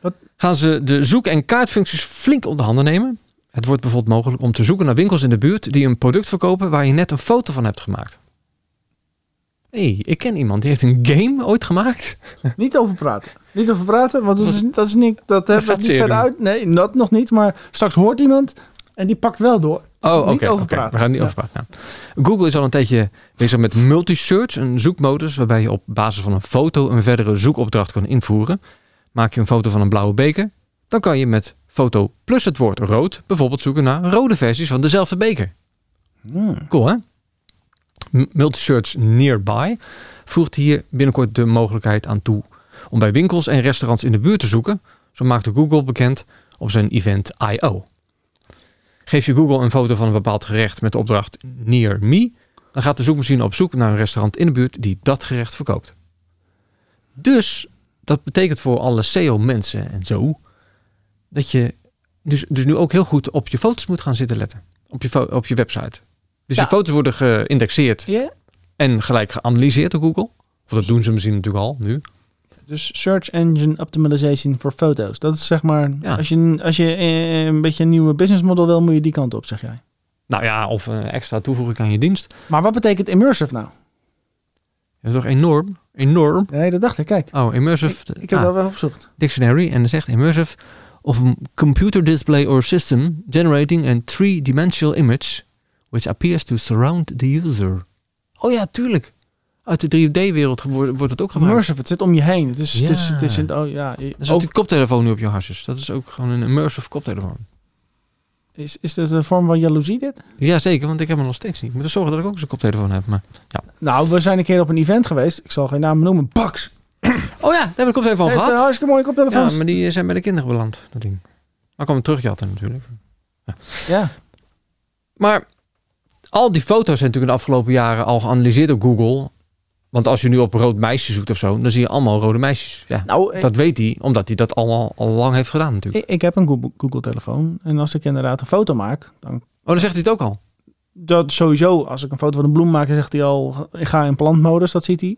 S1: Wat?
S2: gaan ze de zoek- en kaartfuncties flink onder handen nemen. Het wordt bijvoorbeeld mogelijk om te zoeken naar winkels in de buurt die een product verkopen waar je net een foto van hebt gemaakt. Hé, hey, ik ken iemand die heeft een game ooit gemaakt.
S1: Niet over praten. Niet over praten, want dat
S2: Wat-
S1: is, dat is niet... Dat hebben we
S2: gaat
S1: niet
S2: zeer
S1: verder uit. Nee, dat nog niet. Maar straks hoort iemand en die pakt wel door.
S2: Oh, oké.
S1: Niet over
S2: oké.
S1: praten.
S2: We gaan niet over praten. Nou, Google is al een tijdje bezig met multi-search, een zoekmodus waarbij je op basis van een foto een verdere zoekopdracht kan invoeren. Maak je een foto van een blauwe beker, dan kan je met foto plus het woord rood bijvoorbeeld zoeken naar rode versies van dezelfde beker.
S1: Hmm.
S2: Cool, hè? M- Multisearch Nearby voegt hier binnenkort de mogelijkheid aan toe om bij winkels en restaurants in de buurt te zoeken. Zo maakte Google bekend op zijn event I.O. Geef je Google een foto van een bepaald gerecht met de opdracht Near Me, dan gaat de zoekmachine op zoek naar een restaurant in de buurt die dat gerecht verkoopt. Dus dat betekent voor alle SEO-mensen en zo dat je dus, dus nu ook heel goed op je foto's moet gaan zitten letten. Op je, fo- op je website. Dus
S1: Ja.
S2: je foto's worden geïndexeerd
S1: Ja.
S2: en gelijk geanalyseerd door Google. Of dat doen ze misschien natuurlijk al nu.
S1: Dus Search Engine Optimization voor foto's. Dat is zeg maar,
S2: Ja.
S1: als je, als je eh, een beetje een nieuwe businessmodel wil, moet je die kant op, zeg jij.
S2: Nou ja, of eh, extra toevoeging aan je dienst.
S1: Maar wat betekent immersive nou?
S2: Dat is toch enorm, enorm.
S1: Nee, dat dacht ik. Kijk,
S2: Oh,
S1: ik,
S2: immersive
S1: ik heb
S2: ah,
S1: wel wel opgezocht.
S2: dictionary. En dan zegt immersive of a computer display or system generating a three-dimensional image which appears to surround the user. Oh ja, tuurlijk. Uit de 3D-wereld wordt wordt het ook gebruikt.
S1: Immersive, het zit om je heen. Het is, het is,
S2: Ja.
S1: het is, oh, ja.
S2: Er zit
S1: Ook,
S2: een koptelefoon nu op je hartjes. Dat is ook gewoon een immersive koptelefoon.
S1: is, is dit een vorm van jaloezie dit?
S2: Ja, zeker, want ik heb hem nog steeds niet. Ik moet er zorgen dat ik ook zo'n koptelefoon heb. Maar...
S1: Nou, we zijn een keer op een event geweest. Ik zal geen naam noemen. Bax.
S2: Oh ja, daar heb ik een koptelefoon
S1: Het, eh,
S2: gehad.
S1: hartstikke mooie
S2: Ja,
S1: koptelefoons. Ja,
S2: maar die eh, zijn bij de kinderen beland, dat ding. Maar ik kwam hem terugjatten natuurlijk. Maar al die foto's zijn natuurlijk de afgelopen jaren al geanalyseerd door Google. Want als je nu op rood meisje zoekt of zo, dan zie je allemaal rode meisjes. Ja,
S1: Nou, ik,
S2: dat weet hij, omdat hij dat allemaal al lang heeft gedaan natuurlijk.
S1: ik, ik heb een Google- Google-telefoon. En als ik inderdaad een foto maak, dan
S2: Oh, dan zegt hij het ook al.
S1: dat sowieso, als ik een foto van een bloem maak, dan zegt hij al, ik ga in plantmodus, dat ziet hij.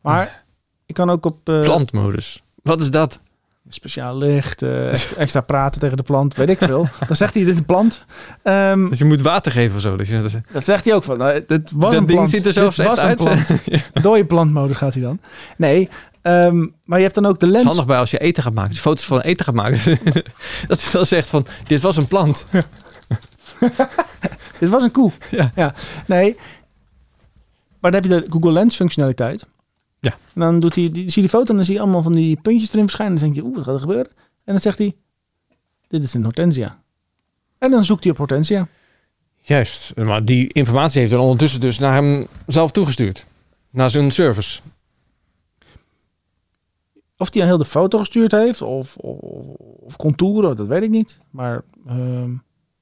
S1: Maar ik kan ook op eh,
S2: Plantmodus. Wat is dat?
S1: speciaal licht, eh, ex- extra praten tegen de plant, weet ik veel. Dan zegt hij, dit is een plant. Ehm,
S2: Dus je moet water geven of zo. Dat je, dat,
S1: dat zegt hij ook van, nou, dit was
S2: dat
S1: een
S2: ding
S1: plant.
S2: ziet er zo
S1: dit
S2: slecht
S1: was
S2: uit.
S1: een plant. Dode plantmodus gaat hij dan. Nee, ehm, maar je hebt dan ook de
S2: Het
S1: lens.
S2: is handig bij als je eten gaat maken. Als je foto's van eten gaat maken. dat is dan zegt van, dit was een plant.
S1: Dit was een koe.
S2: Ja.
S1: Nee. Maar dan heb je de Google Lens functionaliteit.
S2: Ja.
S1: En dan doet hij, die, zie je de foto en dan zie je allemaal van die puntjes erin verschijnen. Dan denk je, oeh, wat gaat er gebeuren? En dan zegt hij, dit is een hortensia. En dan zoekt hij op hortensia.
S2: Juist, maar die informatie heeft hij ondertussen dus naar hem zelf toegestuurd. Naar zijn service.
S1: Of hij een hele foto gestuurd heeft, of, of, of contouren, dat weet ik niet. Maar ehm,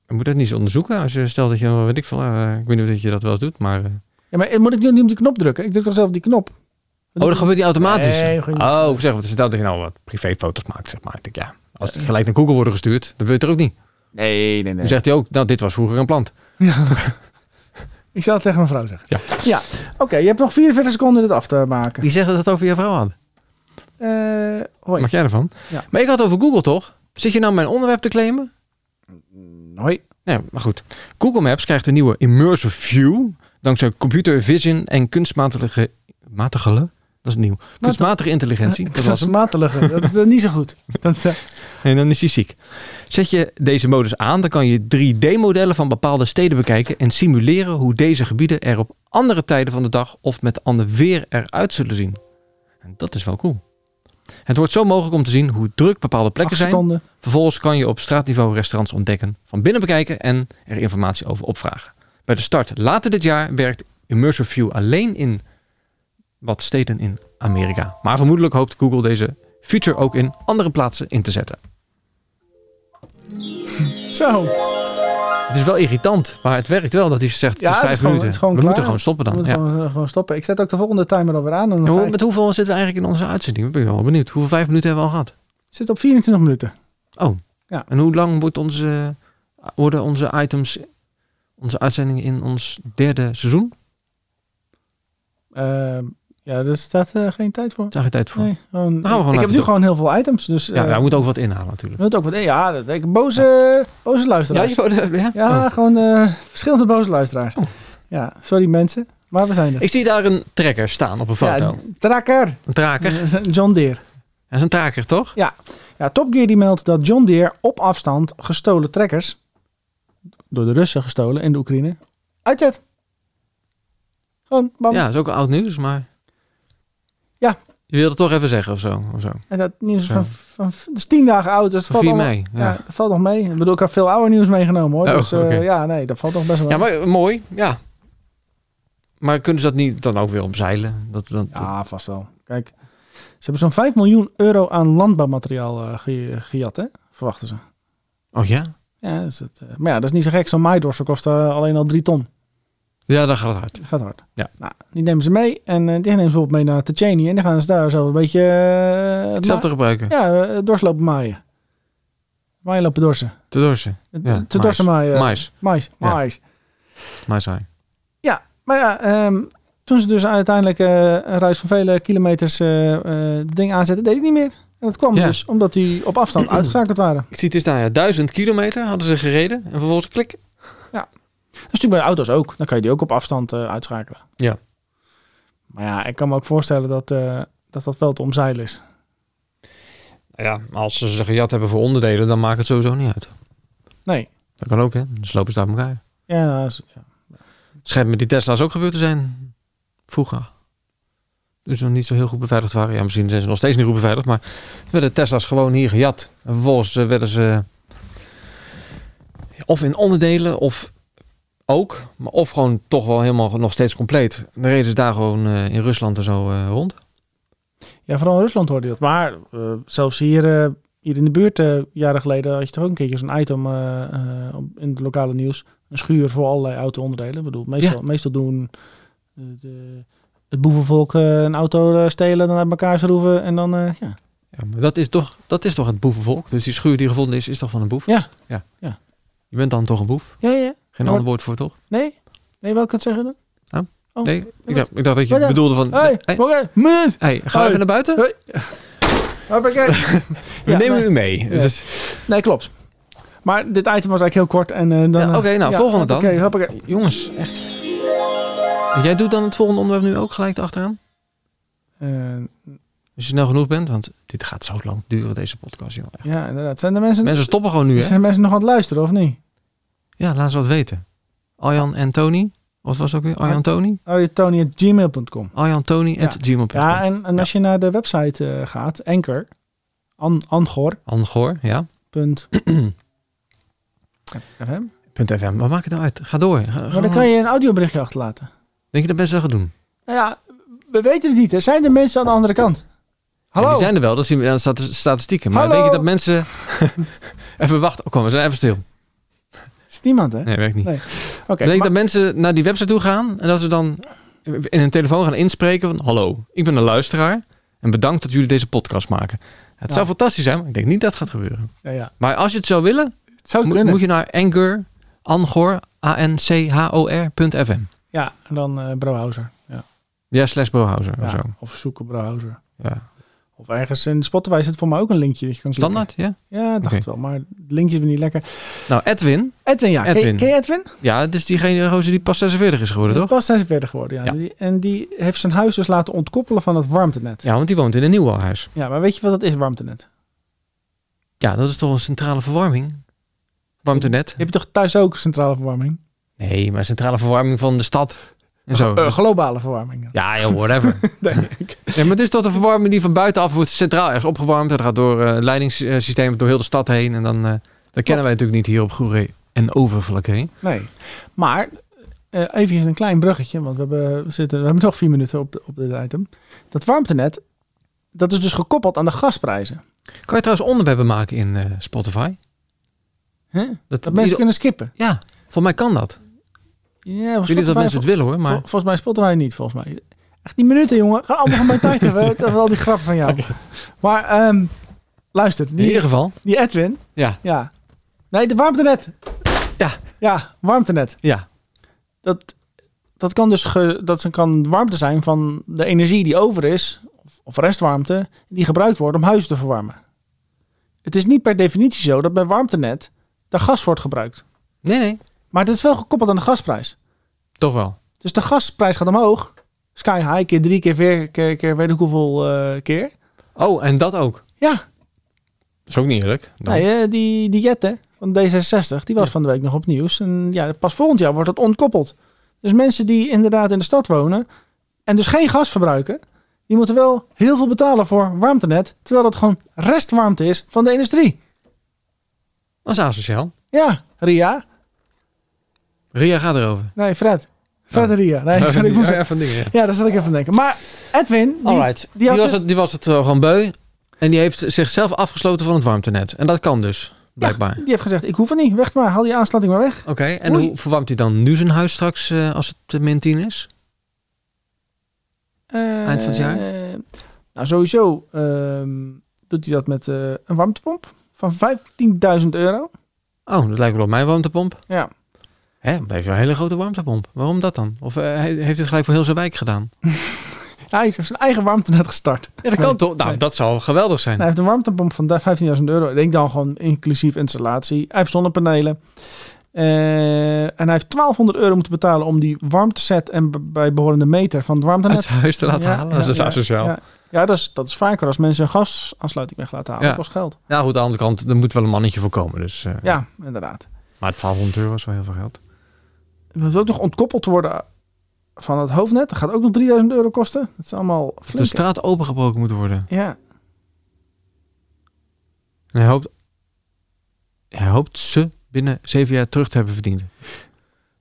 S2: Je moet dat niet eens onderzoeken als je stelt dat je, weet ik veel, eh, ik weet niet of je dat wel eens doet, maar... eh,
S1: ja, maar moet ik nu niet op die knop drukken? Ik druk toch zelf op die knop?
S2: Oh, dat gebeurt die automatisch.
S1: Nee, goed.
S2: oh, zeg, wat is het dat je nou wat privéfoto's maakt, zeg maar. Ik denk, ja, als het gelijk naar Google worden gestuurd, dan wil je het er ook niet.
S1: Nee, nee, nee.
S2: Dan zegt hij ook, nou, dit was vroeger een plant.
S1: Ik zou het tegen mijn vrouw zeggen.
S2: Ja.
S1: ja. Oké, je hebt nog 44 seconden dit af te maken.
S2: Wie zegt dat dat over je vrouw had?
S1: Eh hoi.
S2: Mag jij ervan?
S1: Ja.
S2: Maar ik had het over Google, toch? Zit je nou mijn onderwerp te claimen?
S1: Hoi.
S2: Nee, maar goed. Google Maps krijgt een nieuwe immersive view dankzij computer vision en kunstmatige matigele. Dat is nieuw. Kunstmatige intelligentie.
S1: Ah,
S2: Dat was hem.
S1: Kunstmatige. Dat is eh, niet zo goed. Dat, eh,
S2: En dan is hij ziek. Zet je deze modus aan, dan kan je 3D-modellen van bepaalde steden bekijken en simuleren hoe deze gebieden er op andere tijden van de dag of met ander weer eruit zullen zien. En dat is wel cool. Het wordt zo mogelijk om te zien hoe druk bepaalde plekken
S1: acht
S2: zijn.
S1: seconden.
S2: Vervolgens kan je op straatniveau restaurants ontdekken, van binnen bekijken en er informatie over opvragen. Bij de start later dit jaar werkt Immersive View alleen in wat steden in Amerika. Maar vermoedelijk hoopt Google deze feature ook in andere plaatsen in te zetten.
S1: Zo.
S2: Het is wel irritant, maar het werkt wel dat hij zegt het
S1: Ja,
S2: is
S1: het
S2: vijf
S1: is gewoon-
S2: minuten.
S1: het is gewoon
S2: we
S1: klaar.
S2: moeten gewoon stoppen
S1: Dan
S2: dan.
S1: moeten
S2: Ja.
S1: we gewoon, eh, gewoon stoppen. Ik zet ook de volgende timer alweer aan. En dan
S2: En
S1: ga
S2: hoe,
S1: ik-
S2: met hoeveel zitten we eigenlijk in onze uitzending? Ik ben wel benieuwd. Hoeveel vijf minuten hebben we al gehad?
S1: zit op 24 minuten.
S2: En hoe lang wordt onze, worden onze items, onze uitzendingen in ons derde seizoen?
S1: Ehm, ja, daar staat eh, geen tijd voor.
S2: Daar is geen tijd voor.
S1: Nee, gewoon-
S2: Oh. we gewoon
S1: ik heb
S2: laten
S1: nu
S2: doen.
S1: gewoon heel veel items. Dus,
S2: Ja,
S1: eh,
S2: daar moet ook wat inhalen natuurlijk.
S1: je moet ook wat. Ja, dat ik boze, boze
S2: Ja,
S1: luisteraars.
S2: je wou- ja?
S1: Ja,
S2: Oh.
S1: gewoon eh, verschillende boze luisteraars.
S2: Oh.
S1: Ja, sorry mensen. Maar we zijn er.
S2: Ik zie daar een trekker staan op een foto.
S1: Ja, trakker.
S2: Een traker.
S1: John Deere.
S2: Dat is een traker, toch?
S1: Ja, Top Gear die meldt dat John Deere op afstand gestolen trekkers, door de Russen gestolen in de Oekraïne, uitzet. Gewoon, bam.
S2: Ja, dat is ook oud nieuws, maar...
S1: Ja.
S2: Je wilde het toch even zeggen of zo. Of zo.
S1: En dat nieuws
S2: Zo.
S1: van, van, dat is tien dagen oud. Dus het
S2: Van
S1: valt
S2: 4
S1: allemaal-
S2: mei.
S1: Ja.
S2: Ja.
S1: dat valt nog mee. Ik bedoel, ik heb veel ouder nieuws meegenomen hoor.
S2: Oh,
S1: dus eh,
S2: oké.
S1: ja, nee, dat valt nog best wel
S2: ja, maar eh, mooi. Ja. Maar kunnen ze dat niet dan ook weer omzeilen? Dat, dat,
S1: Ja, vast wel. Kijk, ze hebben zo'n 5 miljoen euro aan landbouwmateriaal eh, ge- gejat, hè? verwachten ze.
S2: Oh ja?
S1: Ja, dus dat, eh, maar ja, dat is niet zo gek. Zo'n maaidorser kost eh, alleen al 3 ton.
S2: Ja, dat gaat het hard.
S1: Dat gaat hard.
S2: Ja.
S1: Nou, die nemen ze mee en eh, die nemen ze bijvoorbeeld mee naar Tcheney. En dan gaan ze daar zo een beetje... eh, het
S2: Hetzelfde gebruiken.
S1: ma- Ja, eh, dorslopen maaien. Maaien lopen dorsen.
S2: Te dorsen.
S1: Eh,
S2: Ja,
S1: te
S2: mais.
S1: dorsen maaien.
S2: Mais.
S1: Mais.
S2: Ja.
S1: mais.
S2: Mais saai.
S1: Maar ja, ehm, toen ze dus uiteindelijk eh, een ruis van vele kilometers eh, eh, het ding aanzetten, deed hij niet meer. En dat kwam
S2: Ja.
S1: dus omdat die op afstand uitgeschakeld waren.
S2: Ik zie het is daar, ja, duizend kilometer hadden ze gereden. En vervolgens klik.
S1: Dat is natuurlijk Dus bij auto's ook. Dan kan je die ook op afstand eh, uitschakelen.
S2: Ja.
S1: Maar ja, ik kan me ook voorstellen dat eh, dat, dat wel te omzeilen is.
S2: Nou Ja, maar als ze ze gejat hebben voor onderdelen, dan maakt het sowieso niet uit.
S1: Nee.
S2: Dat kan ook, hè? Dan slopen ze daar elkaar.
S1: Ja, nou, is- ja.
S2: Het Schijnt met die Tesla's ook gebeurd te zijn. Vroeger. Dus nog niet zo heel goed beveiligd waren. Ja, misschien zijn ze nog steeds niet goed beveiligd. Maar werden Tesla's gewoon hier gejat. En vervolgens eh, werden ze... eh, Of in onderdelen, of ook. Maar of gewoon toch wel helemaal nog steeds compleet. Dan reden ze daar gewoon eh, in Rusland en zo eh, rond.
S1: ja, vooral in Rusland hoorde je dat. Maar eh, zelfs hier, eh, hier in de buurt, eh, jaren geleden, had je toch ook een keertje zo'n item eh, eh, op- in het lokale nieuws. Een schuur voor allerlei auto-onderdelen. Ik bedoel, meestal, meestal doen eh, de, het boevenvolk eh, een auto eh, stelen, dan uit elkaar schroeven en dan... eh, ja.
S2: Ja, maar dat is, toch, dat is toch het boevenvolk? Dus die schuur die gevonden is, is toch van een boef?
S1: Ja.
S2: ja.
S1: Ja.
S2: Je bent dan toch een boef?
S1: ja, ja, ja.
S2: Geen
S1: Ja,
S2: ander woord voor, toch?
S1: Nee? Nee, welke het zeggen dan? Oh,
S2: Nee? Ik dacht, ik dacht dat je
S1: Wat dan?
S2: bedoelde van...
S1: Hé,
S2: Hey,
S1: oké, minuut!
S2: hey, ga
S1: Hoi.
S2: even naar buiten.
S1: Hoi. Hoppakee.
S2: We
S1: Ja,
S2: nemen
S1: nee.
S2: u mee. Het is-
S1: Nee, klopt. Maar dit item was eigenlijk heel kort. en eh, dan.
S2: Ja,
S1: eh,
S2: oké, nou, volgende dan.
S1: Oké, hoppakee.
S2: Jongens, echt. Jij doet dan het volgende onderwerp nu ook gelijk achteraan?
S1: Eh,
S2: Als je snel genoeg bent, want dit gaat zo lang duren, deze podcast, jongen. Echt.
S1: ja, inderdaad. Zijn de mensen,
S2: Mensen stoppen gewoon nu, hè?
S1: Dus zijn de mensen nog aan het luisteren, of niet?
S2: Ja, laat ze wat weten. Arjan en Tony? Wat was het ook weer? Arjan Tony?
S1: Ariotony.gmail.com
S2: Arjan Tony at gmail.com.
S1: Ja, en, en als je naar de website eh, gaat, Anchor, an, angor.fm.
S2: Angoor, ja. Punt FM. Maar maak het nou uit. Ga door. Ga- ga
S1: Maar dan
S2: maar.
S1: kan je een audioberichtje achterlaten.
S2: Denk je dat best wel gaat doen?
S1: Nou ja, we weten het niet. Er zijn er mensen aan de andere kant. Hallo?
S2: Ja, die zijn er wel, dat zien we aan de stat- statistieken. Maar
S1: Hallo?
S2: denk je dat mensen... even wachten. Oh, kom, we zijn even stil.
S1: is niemand, hè?
S2: Nee, werkt niet.
S1: Nee. Oké.
S2: denk je
S1: maar-
S2: dat mensen naar die website toe gaan en dat ze dan in hun telefoon gaan inspreken van... Hallo, ik ben een luisteraar en bedankt dat jullie deze podcast maken. Het
S1: Ja.
S2: zou fantastisch zijn, maar ik denk niet dat het gaat gebeuren.
S1: ja, ja.
S2: Maar als je het zou willen,
S1: Het zou
S2: mo-
S1: kunnen.
S2: moet je naar Anchor, Angor, A-N-C-H-O-R.fm.
S1: Ja, en dan eh Brouwhauser. Ja.
S2: Ja, slash Brohouser of
S1: Ja,
S2: Oh, zo.
S1: Of zoeken Brouwhauser.
S2: Ja.
S1: Of ergens in Spotify zit voor mij ook een linkje. dat je kan klikken.
S2: Standaard, ja.
S1: Ja, dacht
S2: Oké.
S1: wel. Maar het linkje is weer niet lekker.
S2: Nou, Edwin,
S1: Edwin, ja. Ken-
S2: Edwin.
S1: Ken je Edwin?
S2: ja, het is diegene gozer die pas 46 is geworden,
S1: Die
S2: toch?
S1: Pas zijn ze verder geworden, ja.
S2: Ja.
S1: Die- en die heeft zijn huis dus laten ontkoppelen van het warmtenet. Ja.
S2: Ja, want die woont in een nieuw huis.
S1: maar weet je wat dat is, warmtenet?
S2: Ja, dat is toch een centrale verwarming? Warmtenet?
S1: Heb je toch thuis ook centrale verwarming?
S2: Nee, maar centrale verwarming van de stad. En zo.
S1: Eh, globale verwarming.
S2: Ja, joh, whatever.
S1: Nee.
S2: Ja, maar het is toch de verwarming die van buitenaf wordt centraal ergens opgewarmd. Dat gaat door eh leidingssystemen door heel de stad heen. En dan eh, dat kennen wij natuurlijk niet hier op Goeree en Overvlak heen.
S1: nee. Maar eh even een klein bruggetje, want we hebben, we zitten, we hebben nog vier minuten op, de- op dit item. Dat warmtenet, dat is dus gekoppeld aan de gasprijzen.
S2: Kan je trouwens onderwerpen maken in eh, Spotify?
S1: Hè?
S2: Dat,
S1: Dat mensen
S2: ieder-
S1: kunnen skippen.
S2: Ja, volgens mij kan dat.
S1: Ja,
S2: Ik weet niet dat mensen het willen hoor, maar...
S1: Vol- volgens mij Spotify niet, volgens mij. Echt die minuten, jongen. Ga allemaal van mijn tijd hebben. Het is wel die grap van jou. Maar ehm, luister,
S2: In ieder
S1: die,
S2: geval.
S1: die Edwin.
S2: Ja.
S1: Ja. Nee, de warmtenet.
S2: Ja.
S1: Ja, warmtenet.
S2: Ja.
S1: Dat, dat kan dus ge- dat ze- kan warmte zijn van de energie die over is, of, of restwarmte, die gebruikt wordt om huizen te verwarmen. Het is niet per definitie zo dat bij warmtenet de gas wordt gebruikt.
S2: Nee, nee.
S1: Maar het is wel gekoppeld aan de gasprijs.
S2: Toch wel.
S1: Dus de gasprijs gaat omhoog. Sky high, keer drie, keer vier, keer, keer weet ik hoeveel eh, keer.
S2: Oh, en dat ook.
S1: Ja,
S2: Dat is ook niet eerlijk. Dan.
S1: nee, eh, die, die Jet hè, van D66, die was
S2: Ja.
S1: van de week nog op nieuws. En ja, pas volgend jaar wordt dat ontkoppeld. Dus mensen die inderdaad in de stad wonen en dus geen gas verbruiken, Die moeten wel heel veel betalen voor warmtenet, terwijl dat gewoon restwarmte is van de industrie.
S2: Dat is asociaal.
S1: Ja, Ria.
S2: Ria gaat erover.
S1: Nee, Fred. Fred
S2: Oh.
S1: en Ria. Nee, sorry, ik
S2: die-
S1: moest...
S2: oh ja, van dingen, ja.
S1: Ja, daar zat ik even aan denken. Maar Edwin, die,
S2: Alright. Die,
S1: had
S2: was
S1: de-
S2: het, die was het eh, gewoon beu. En die heeft zichzelf afgesloten van het warmtenet. En dat kan dus, blijkbaar.
S1: die heeft gezegd, ik hoef het niet. Weg maar, haal die aansluiting maar weg.
S2: Oké, en
S1: Oei.
S2: hoe verwarmt hij dan nu zijn huis straks eh, als het eh, min 10 is?
S1: Eh,
S2: Eind van het jaar?
S1: eh, nou, sowieso ehm, doet hij dat met eh, een warmtepomp van 15.000 euro.
S2: Oh, dat lijkt wel op mijn warmtepomp.
S1: Ja.
S2: Hè, dat heeft een hele grote warmtepomp. Waarom dat dan? Of eh, hij heeft het gelijk voor heel zijn wijk gedaan?
S1: Hij heeft zijn eigen warmtenet gestart.
S2: Ja, dat kan
S1: Nee,
S2: toch? Nou,
S1: nee.
S2: dat zou geweldig zijn.
S1: Hij heeft een warmtepomp van 15.000 euro. Ik denk dan gewoon inclusief installatie. Hij heeft zonnepanelen. Eh, en hij heeft 1200 euro moeten betalen om die warmteset en b- bijbehorende meter van het
S2: Uit
S1: warmtenet
S2: zijn huis te laten
S1: Ja,
S2: halen.
S1: ja,
S2: dat is
S1: ja,
S2: asociaal.
S1: Ja, ja dat, is, dat is vaker als mensen een gasaansluiting weg laten halen.
S2: Ja.
S1: Dat kost geld.
S2: Nou goed, aan de andere kant, er moet wel een mannetje voor komen. Dus, eh,
S1: Ja, inderdaad.
S2: Maar 1200 euro is wel heel veel geld.
S1: Het hoeft ook nog ontkoppeld te worden van het hoofdnet. Dat gaat ook nog 3000 euro kosten. Dat is allemaal
S2: Dat Dus de
S1: flink.
S2: straat opengebroken moet worden.
S1: Ja,
S2: En hij hoopt, hij hoopt ze binnen zeven jaar terug te hebben verdiend.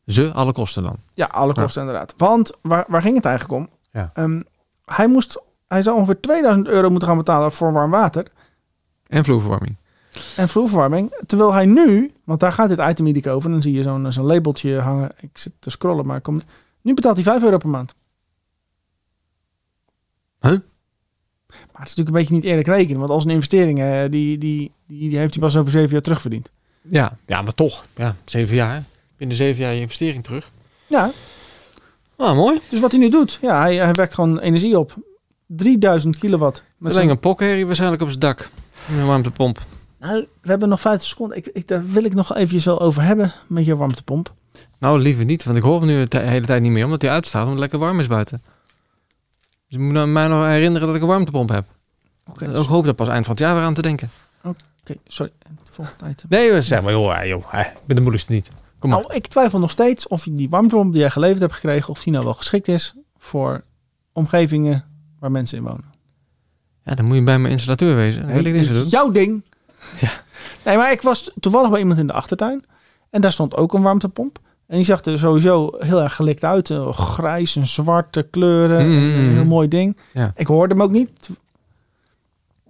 S2: Ze, alle kosten dan.
S1: ja, alle kosten inderdaad. Want waar, waar ging het eigenlijk om?
S2: Ja.
S1: Ehm, hij, moest, hij zou ongeveer 2000 euro moeten gaan betalen voor warm water.
S2: En vloerverwarming.
S1: en vloerverwarming. Terwijl hij nu, want daar gaat dit item niet over. En dan zie je zo'n zo'n labeltje hangen. Ik zit te scrollen, maar ik kom. Nu betaalt hij 5 euro per maand.
S2: Huh?
S1: Maar het is natuurlijk een beetje niet eerlijk rekenen. Want als een investering, eh, die, die, die, die heeft hij pas over 7 jaar terugverdiend.
S2: Ja, ja maar toch. Ja, zeven jaar. Binnen zeven jaar je investering terug.
S1: Ja,
S2: Nou, mooi.
S1: dus wat hij nu doet. Ja, hij, hij wekt gewoon energie op. 3000 kilowatt.
S2: Met
S1: Met zijn-
S2: een pokherrie waarschijnlijk op zijn dak. Met een warmtepomp.
S1: nou, we hebben nog 50 seconden. Ik, ik, daar wil ik nog eventjes wel over hebben. Met je warmtepomp.
S2: Nou, liever niet, want ik hoor hem nu de t- hele tijd niet meer, omdat hij uitstaat, omdat het lekker warm is buiten. Dus je moet nou- mij nog herinneren dat ik een warmtepomp heb.
S1: Oké, dus-
S2: Ik hoop daar pas eind van het jaar weer aan te denken.
S1: oké, sorry. Volgend item.
S2: Nee, joh, zeg maar, joh, eh, joh, eh, ik ben de moeilijkste niet. Kom maar.
S1: Nou, ik twijfel nog steeds of die warmtepomp die jij geleverd hebt gekregen, of die nou wel geschikt is voor omgevingen waar mensen in wonen.
S2: Ja, dan moet je bij mijn installateur wezen. Dat wil ik niet zo
S1: dit is
S2: doen.
S1: jouw ding. Nee, maar ik was toevallig bij iemand in de achtertuin en daar stond ook een warmtepomp. En die zag er sowieso heel erg gelikt uit. eh, Grijs en zwarte kleuren.
S2: Mm,
S1: Een
S2: mm,
S1: heel
S2: mm.
S1: mooi ding.
S2: Ja.
S1: Ik hoorde hem ook niet.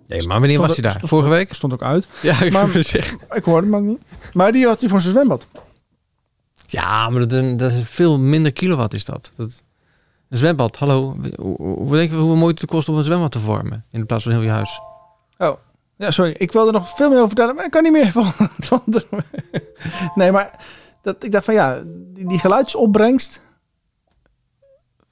S2: Nee, maar wanneer
S1: Stond
S2: was hij
S1: er-
S2: daar?
S1: stond-
S2: Vorige week?
S1: Ik stond ook uit.
S2: Ja, ik
S1: Maar-
S2: wil zeggen.
S1: Ik hoorde hem ook niet. Maar die had hij voor zijn zwembad.
S2: Ja, maar dat, dat is veel minder kilowatt is dat. dat een zwembad, hallo. Hoe, hoe denk je hoe moeite het kost om een zwembad te vormen? In plaats van heel je huis.
S1: Ja, sorry. Ik wilde er nog veel meer over vertellen, maar ik kan niet meer van. van de- nee, maar dat, ik dacht van ja, die, die geluidsopbrengst.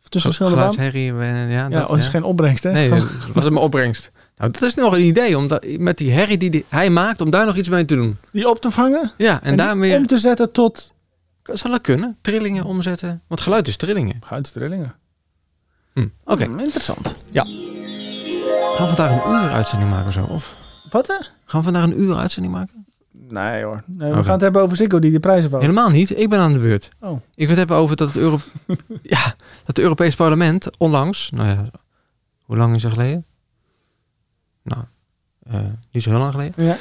S1: Tussen verschillende warm-
S2: Geluidsherrie, eh, ja,
S1: Ja,
S2: dat,
S1: oh, dat is
S2: ja.
S1: geen Oh. opbrengst, hè?
S2: Nee,
S1: Van-
S2: dat was mijn opbrengst. Nou, dat is nog een idee, om dat, met die herrie die, die hij maakt, om daar nog iets mee te doen.
S1: Die op te vangen en,
S2: Ja, en,
S1: die
S2: daarmee
S1: om te zetten tot.
S2: zou dat kunnen. Trillingen omzetten. Want geluid is trillingen.
S1: Geluidstrillingen.
S2: Hm, Oké,
S1: Hmm, interessant.
S2: gaan we vandaag een uur uitzending maken of zo? Of
S1: Wat hè?
S2: gaan we vandaag een uur uitzending maken?
S1: Nee hoor. Nee, We
S2: Oké.
S1: gaan het hebben over Ziggo die de prijzen woont.
S2: Helemaal niet. Ik ben aan de beurt.
S1: Oh.
S2: Ik wil het hebben over dat het, Euro ja, dat het Europees Parlement onlangs... Nou ja, hoe lang is dat geleden? Nou, eh, niet zo heel lang geleden.
S1: Ja.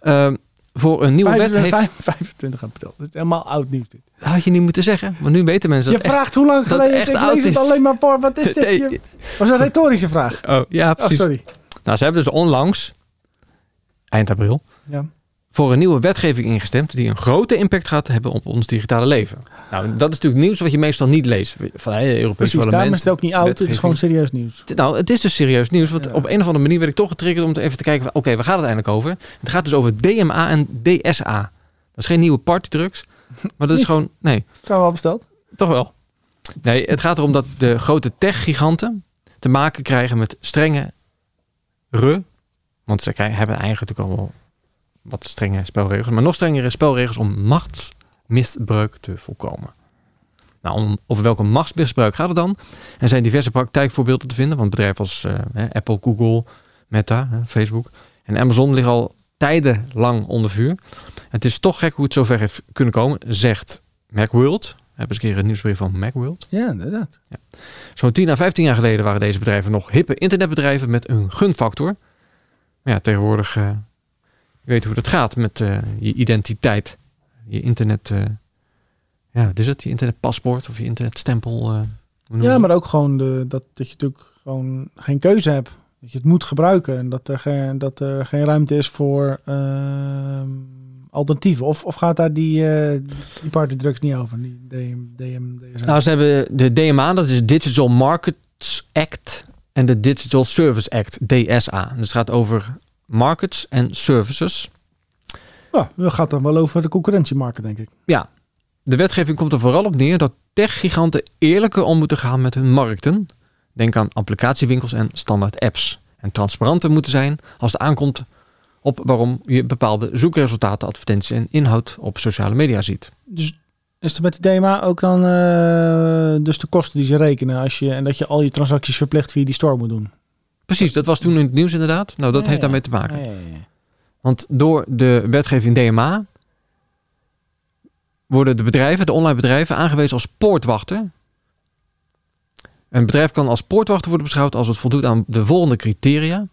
S2: Ehm, voor een nieuwe wet
S1: 25,
S2: heeft...
S1: 25 april. Dat is helemaal oud nieuws dit.
S2: Dat had je niet moeten zeggen. Maar nu weten mensen
S1: Je
S2: dat echt.
S1: vraagt hoe lang
S2: dat
S1: geleden is.
S2: echt
S1: Ik
S2: oud
S1: lees het
S2: is.
S1: alleen maar voor. Wat is dit?
S2: Nee.
S1: Je- was een retorische vraag.
S2: Oh, ja,
S1: Oh,
S2: precies.
S1: sorry.
S2: nou, ze hebben dus onlangs, eind april,
S1: Ja.
S2: voor een nieuwe wetgeving ingestemd die een grote impact gaat hebben op ons digitale leven. Nou, dat is natuurlijk nieuws wat je meestal niet leest van het Europees
S1: Precies, daarom
S2: Parlement.
S1: is het ook niet oud. Het is
S2: wetgeving.
S1: gewoon serieus nieuws.
S2: Dit- Nou, het is dus serieus nieuws, want
S1: Ja.
S2: op een of andere manier werd ik toch getriggerd om te even te kijken van, oké, waar gaat het eigenlijk over? Het gaat dus over DMA en DSA. Dat is geen nieuwe partydrugs, maar dat is
S1: Niet?
S2: gewoon, nee.
S1: Zijn we al besteld?
S2: Toch wel. Nee, het gaat erom dat de grote tech-giganten te maken krijgen met strenge re. Want ze krij- hebben eigenlijk ook al wel wat strenge spelregels. Maar nog strengere spelregels om machtsmisbruik te voorkomen. Nou, om, over welke machtsmisbruik gaat het dan? Er zijn diverse praktijkvoorbeelden te vinden. Want bedrijven als eh, hè, Apple, Google, Meta, hè, Facebook en Amazon liggen al tijdenlang onder vuur. Het is toch gek hoe het zover heeft kunnen komen, zegt Macworld, hè, hebben eens een keer een nieuwsbrief van Macworld.
S1: Ja, inderdaad.
S2: Zo'n 10 à 15 jaar geleden waren deze bedrijven nog hippe internetbedrijven met een gunfactor. Maar ja, tegenwoordig, eh, je weet hoe dat gaat met eh, je identiteit. Je internet, eh, ja, wat is het? Je internetpaspoort of je internetstempel. eh, hoe noem je
S1: Ja,
S2: dat?
S1: maar ook gewoon de, dat, dat je natuurlijk gewoon geen keuze hebt. Dat je het moet gebruiken en dat er geen, dat er geen ruimte is voor ehm, alternatieven. Of, of gaat daar die, eh die partydrugs niet over? Die DM, DM, DSM.
S2: Nou, ze hebben de DMA, dat is Digital Markets Act. En de Digital Service Act, DSA. Dus het gaat over markets en services.
S1: ja, dat gaat dan wel over de concurrentiemarkt, denk ik.
S2: De wetgeving komt er vooral op neer dat techgiganten eerlijker om moeten gaan met hun markten. Denk aan applicatiewinkels en standaard apps. En transparanter moeten zijn als het aankomt op waarom je bepaalde zoekresultaten, advertenties en inhoud op sociale media ziet.
S1: Dus is er met de DMA ook dan eh, dus de kosten die ze rekenen als je, en dat je al je transacties verplicht via die store moet doen?
S2: Precies, dat was toen in het nieuws inderdaad. Nou, dat
S1: Ja,
S2: heeft
S1: ja.
S2: daarmee te maken.
S1: Ja, ja, ja.
S2: Want door de wetgeving DMA worden de bedrijven, de online bedrijven, aangewezen als poortwachter. Een bedrijf kan als poortwachter worden beschouwd als het voldoet aan de volgende criteria.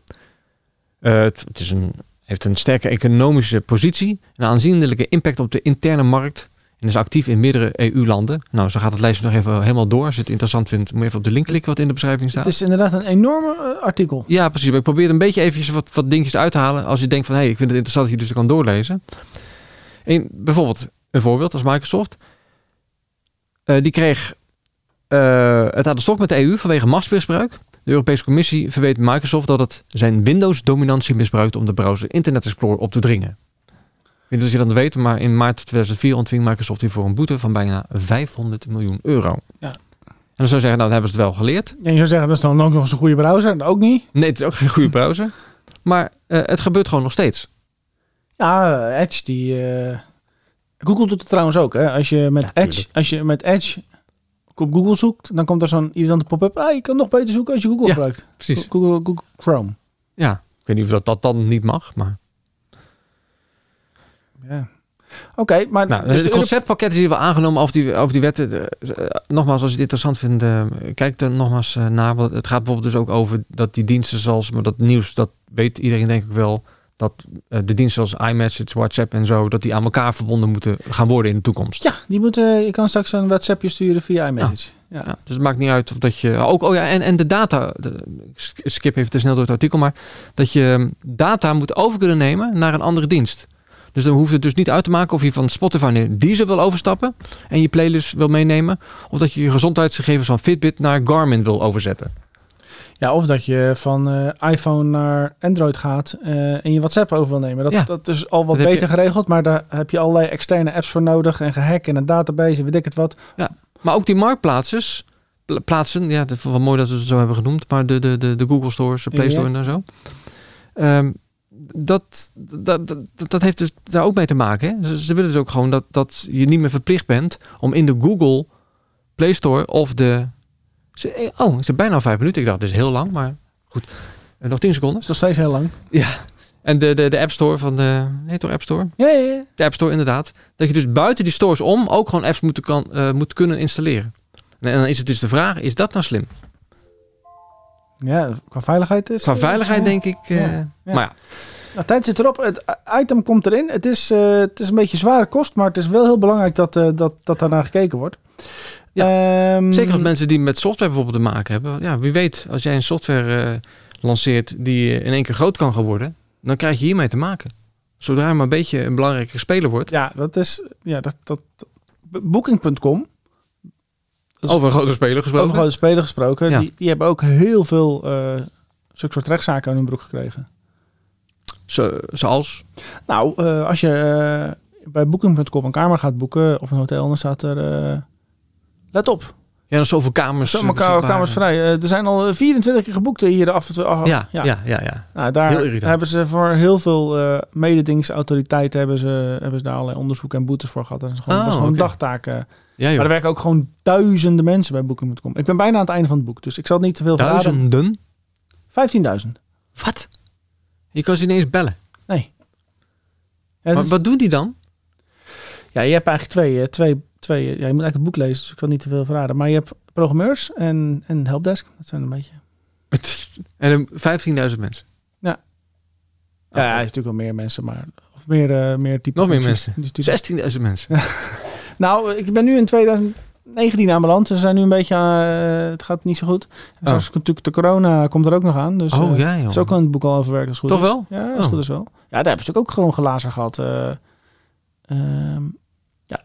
S2: Eh, het het is een, heeft een sterke economische positie, een aanzienlijke impact op de interne markt en is actief in meerdere EU-landen. Nou, zo gaat het lijstje nog even helemaal door. Als je het interessant vindt, moet je even op de link klikken wat in de beschrijving staat.
S1: Het is inderdaad een enorme eh, artikel.
S2: Ja, precies. Maar ik probeer een beetje eventjes wat, wat dingetjes uit te halen. Als je denkt van, hé, hey, ik vind het interessant dat je dus kan doorlezen. En bijvoorbeeld, een voorbeeld als Microsoft. Eh, die kreeg eh, het aan de stok met de EU vanwege machtsmisbruik. De Europese Commissie verweet Microsoft dat het zijn Windows-dominantie misbruikt om de browser Internet Explorer op te dringen. Ik weet niet of je dat weet, maar in maart 2004 ontving Microsoft hiervoor een boete van bijna 500 miljoen euro.
S1: Ja.
S2: En dan zou je zeggen, nou, dan hebben ze het wel geleerd.
S1: En je zou zeggen, dat is dan ook nog eens een goede browser. Dat ook niet.
S2: Nee, het is ook geen goede browser. Maar eh, het gebeurt gewoon nog steeds.
S1: Ja, Edge die... eh, Google doet het trouwens ook. Hè? Als, je met
S2: Ja,
S1: Edge, als je met Edge op Google zoekt, dan komt er zo'n irritante pop-up. Ah, je kan nog beter zoeken als je Google
S2: Ja,
S1: gebruikt.
S2: Precies.
S1: Google, Google Chrome.
S2: Ja, ik weet niet of dat, dat dan niet mag. Maar...
S1: Ja. Oké, maar...
S2: Nou,
S1: dus
S2: het
S1: de
S2: conceptpakket is hier wel aangenomen over die, over die wetten. Eh, eh, nogmaals, als je het interessant vindt, eh, kijk er nogmaals eh, naar. Want het gaat bijvoorbeeld dus ook over dat die diensten zoals... Maar dat nieuws, dat weet iedereen denk ik wel... Dat eh, de diensten zoals iMessage, WhatsApp en zo... dat die aan elkaar verbonden moeten gaan worden in de toekomst.
S1: Ja, die moeten, je kan straks een WhatsAppje sturen via iMessage. Ja.
S2: Ja, dus het maakt niet uit of dat je... Ook, oh ja, en, en de data... de- ik sk- skip even te snel door het artikel, maar... dat je ehm, data moet over kunnen nemen naar een andere dienst. Dus dan hoeft het dus niet uit te maken of je van Spotify naar Deezer wil overstappen... en je playlist wil meenemen... of dat je je gezondheidsgegevens van Fitbit naar Garmin wil overzetten.
S1: Ja, of dat je van eh, iPhone naar Android gaat eh, en je WhatsApp over wil nemen. Dat,
S2: Ja.
S1: dat is al wat
S2: Dat heb
S1: beter geregeld, maar daar heb je allerlei externe apps voor nodig en gehack en een database en weet ik het wat.
S2: Maar ook die marktplaatses... pla- Plaatsen, ja, dat- wat mooi dat ze het zo hebben genoemd... maar de, de, de, de Google Stores, de Play
S1: Ja.
S2: Store en zo... Ehm, dat, dat, dat, dat heeft dus daar ook mee te maken. Hè? Ze, ze willen dus ook gewoon dat, dat je niet meer verplicht bent om in de Google Play Store of de. Ze- eh, Oh, ik zit bijna al vijf minuten. Ik dacht, dit is heel lang, maar goed. Eh, Nog tien seconden.
S1: Dat is nog steeds heel lang.
S2: En de, de, de App Store van de. Nee, toch App Store?
S1: Ja, ja, ja.
S2: De App Store, inderdaad. Dat je dus buiten die stores om ook gewoon apps moet, kan, eh, moet kunnen installeren. En dan is het dus de vraag: is dat nou slim?
S1: Ja, qua veiligheid is...
S2: Qua
S1: eh,
S2: veiligheid,
S1: ja.
S2: denk ik. eh,
S1: Ja, ja.
S2: Maar ja,
S1: Nou, tijd zit erop. Het i- item komt erin. Het is, eh, het is een beetje zware kost, maar het is wel heel belangrijk dat, eh dat, dat daarnaar gekeken wordt. Ehm,
S2: Zeker als mensen die met software bijvoorbeeld te maken hebben. Ja, wie weet, als jij een software eh, lanceert die eh, in één keer groot kan gaan worden, dan krijg je hiermee te maken. Zodra je maar een beetje een belangrijke speler wordt.
S1: Ja, dat is... Ja, dat, dat, Booking.com is-
S2: Over een grote speler gesproken.
S1: Over grote spelen gesproken.
S2: Ja.
S1: Die, die hebben ook heel veel eh zulke soort rechtszaken aan hun broek gekregen.
S2: Zo- zoals.
S1: Nou, eh, als je eh, bij Booking.com een kamer gaat boeken op een hotel, dan staat er... eh, let op,
S2: Ja, dan zoveel kamers.
S1: zo
S2: eh,
S1: maar ka-
S2: beschikbaar.
S1: kamers vrij. Eh, er zijn al 24 keer geboekt hier af en toe. ah,
S2: Ja, ja, ja, ja.
S1: Nou, daar
S2: Heel irritant.
S1: hebben ze voor heel veel eh, mededingsautoriteiten hebben ze, hebben ze daar allerlei onderzoek en boetes voor gehad. Dat is gewoon,
S2: Oh,
S1: dat is gewoon
S2: oké.
S1: dagtaken.
S2: Ja, joh.
S1: Maar er werken ook gewoon duizenden mensen bij Booking.com. Ik ben bijna aan het einde van het boek, dus ik zal niet te veel verraden.
S2: Duizenden.
S1: 15.000.
S2: Wat? Je kan ze ineens bellen.
S1: Nee. Ja, dat
S2: Maar
S1: is-
S2: wat doen die dan?
S1: ja, je hebt eigenlijk twee, eh, twee twee, ja, je moet eigenlijk het boek lezen, dus ik wil niet te veel verraden. Maar je hebt programmeurs en, en helpdesk. Dat zijn een beetje.
S2: En een 15.000 mensen.
S1: Ja.
S2: Ah,
S1: ja, hij is natuurlijk wel meer mensen, maar. Of meer, eh, meer type.
S2: Nog meer
S1: functies. Dus die-
S2: 16.000 mensen.
S1: Nou, ik ben nu in 2019 aanbeland. Ze zijn nu een beetje. eh, het gaat niet zo goed. En
S2: Oh.
S1: Zoals natuurlijk de corona komt er ook nog aan. Dus,
S2: oh
S1: eh,
S2: ja,
S1: Dat
S2: joh.
S1: is ook aan het boek al verwerkt. Als het goed
S2: Toch
S1: is.
S2: wel?
S1: Ja, als het
S2: Oh.
S1: goed is wel. Ja, daar hebben ze natuurlijk ook gewoon glazen gehad. eh. Ehm, ja.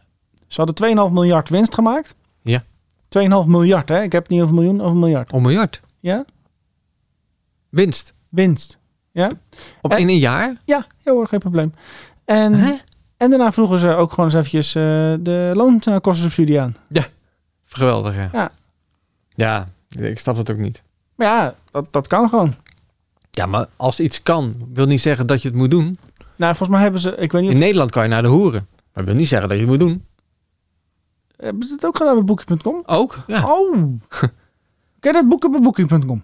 S1: Ze hadden 2,5 miljard winst gemaakt.
S2: Ja.
S1: 2,5 miljard, hè? Ik heb het niet over miljoen, over miljard.
S2: Oh, een miljard.
S1: Ja?
S2: Winst.
S1: Winst.
S2: Op
S1: Eh?
S2: in een jaar?
S1: Ja, ja hoor, geen probleem. En,
S2: Hè?
S1: en daarna vroegen ze ook gewoon eens eventjes eh, de loonkostensubsidie aan.
S2: Geweldig, hè?
S1: Ja.
S2: Ja, ik snap dat ook niet.
S1: Maar ja, dat, dat kan gewoon.
S2: Ja, maar als iets kan, wil niet zeggen dat je het moet doen.
S1: Nou, volgens mij hebben ze, ik weet niet
S2: In
S1: of
S2: Nederland kan je naar de hoeren. Maar wil niet zeggen dat je het moet doen.
S1: hebben ze het ook gedaan bij Booking.com.
S2: Ook? Ja,
S1: Oh! Ken je dat boeken bij Booking.com?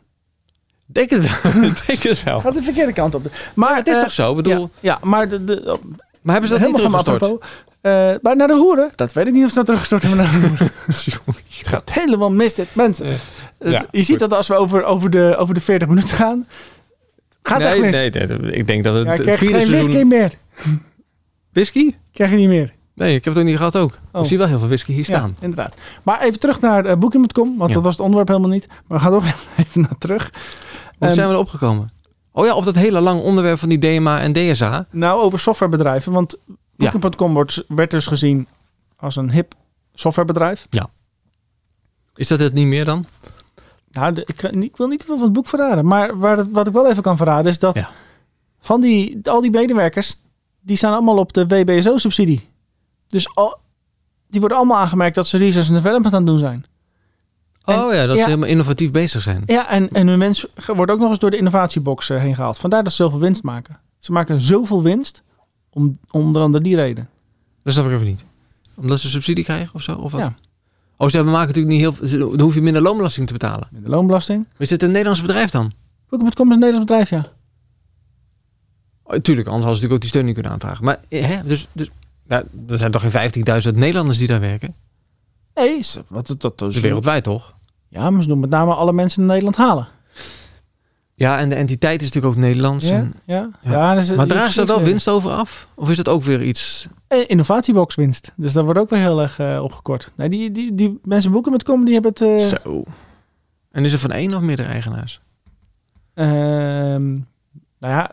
S2: denk het wel. denk het wel.
S1: Gaat de verkeerde kant op. Maar
S2: Maar het is toch zo? Ik bedoel,
S1: Ja, ja, maar de, de,
S2: maar hebben ze dat niet
S1: helemaal van
S2: teruggestort?
S1: apropos. Eh, maar naar de hoeren, dat weet ik niet of ze dat teruggestort hebben. naar de hoeren.
S2: Sorry.
S1: Het gaat helemaal mis, dit mensen.
S2: Ja.
S1: Het-
S2: Ja,
S1: je ziet
S2: goed.
S1: dat als we over, over, de, over de 40 minuten gaan. Gaat
S2: nee,
S1: echt mis.
S2: nee, nee, ik denk dat het,
S1: Ja, ik
S2: het
S1: krijg
S2: vierde
S1: geen
S2: seizoen...
S1: whisky meer.
S2: Whisky?
S1: Krijg je niet meer.
S2: Nee, ik heb het ook niet gehad ook.
S1: Oh.
S2: Ik zie wel heel veel whisky hier staan.
S1: Ja, inderdaad. Maar even terug naar eh, Booking.com, want
S2: Ja.
S1: dat was het onderwerp helemaal niet. Maar we gaan toch even naar terug.
S2: Hoe
S1: Ehm,
S2: zijn we erop gekomen? Oh ja, op dat hele lange onderwerp van die DMA en DSA.
S1: Nou, over softwarebedrijven. Want Booking.com wordt, werd dus gezien als een hip softwarebedrijf.
S2: Is dat het niet meer dan?
S1: Nou, de- ik, ik wil niet te veel van het boek verraden. Maar waar, het- wat ik wel even kan verraden is dat
S2: Ja.
S1: van die, al die medewerkers, die staan allemaal op de WBSO-subsidie. Dus al, die worden allemaal aangemerkt dat ze research en development aan het doen zijn. En-
S2: oh ja, dat
S1: ja.
S2: ze helemaal innovatief bezig zijn.
S1: Ja, en, en hun wens ge- wordt ook nog eens door de innovatiebox eh, heen gehaald. Vandaar dat ze zoveel winst maken. Ze maken zoveel winst, om, om onder andere die reden.
S2: Dat snap ik even niet. Omdat ze subsidie krijgen of zo? Of wat?
S1: Ja.
S2: Oh, ze hebben- maken natuurlijk niet heel veel... ze- Dan hoef je minder loonbelasting te betalen.
S1: Met de loonbelasting.
S2: Maar is dit een Nederlands bedrijf dan?
S1: Booking.com is een Nederlands bedrijf, ja.
S2: Oh, tuurlijk, anders hadden ze natuurlijk ook die steun niet kunnen aanvragen. Maar eh, hè, dus, dus, nou, er zijn toch geen 15.000 Nederlanders die daar werken?
S1: Nee, ze- wat, dat, dat,
S2: Dus wereldwijd toch?
S1: Ja, maar ze doen met name alle mensen in Nederland halen.
S2: Ja, en de entiteit is natuurlijk ook Nederlands.
S1: Ja,
S2: en-
S1: ja.
S2: Ja.
S1: ja dus,
S2: maar
S1: je
S2: dragen
S1: precies,
S2: ze daar wel
S1: eh,
S2: winst over af? Of is dat ook weer iets...
S1: Eh, innovatieboxwinst. Dus dat wordt ook weer heel erg eh, opgekort. Nee, die, die, die mensen boeken met komen, die hebben het... eh,
S2: Zo. En is er van één of meerdere eigenaars?
S1: ehm, nou ja,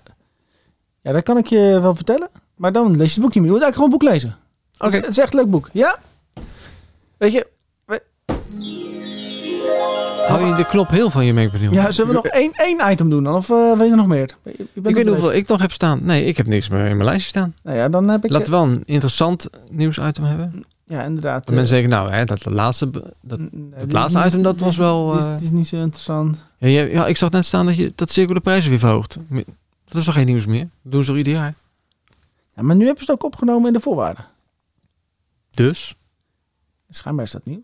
S1: ja, dat kan ik je wel vertellen. Maar dan lees je het boek niet meer. Je moet eigenlijk gewoon een boek lezen.
S2: Oké.
S1: Het, is, het is echt een leuk boek. Ja? Weet je,
S2: Hou je de knop heel van je mengpaneel?
S1: ja, zullen we nog één, één item doen dan? Of eh weet je er nog meer? Je- je bent
S2: Ik
S1: nog
S2: weet niet hoeveel ik nog heb staan. Nee, ik heb niks meer in mijn lijstje staan.
S1: bezig. Nou ja, dan heb ik...
S2: Laten we wel een interessant nieuwsitem hebben.
S1: ja, inderdaad.
S2: Dat
S1: eh,
S2: mensen denken, nou, hè, dat laatste... be- Dat,
S1: n- nee, die
S2: het
S1: is
S2: laatste
S1: niet-
S2: item, dat
S1: die
S2: was
S1: is-
S2: wel,
S1: die is-
S2: eh,
S1: die is niet zo interessant.
S2: ja, jij- ja, ik zag net staan dat, je, dat Circo de prijzen weer verhoogt. Dat is toch geen nieuws meer? Dat doen ze toch ieder jaar?
S1: Ja, maar nu hebben ze het ook opgenomen in de voorwaarden.
S2: Dus?
S1: Schijnbaar is dat nieuws.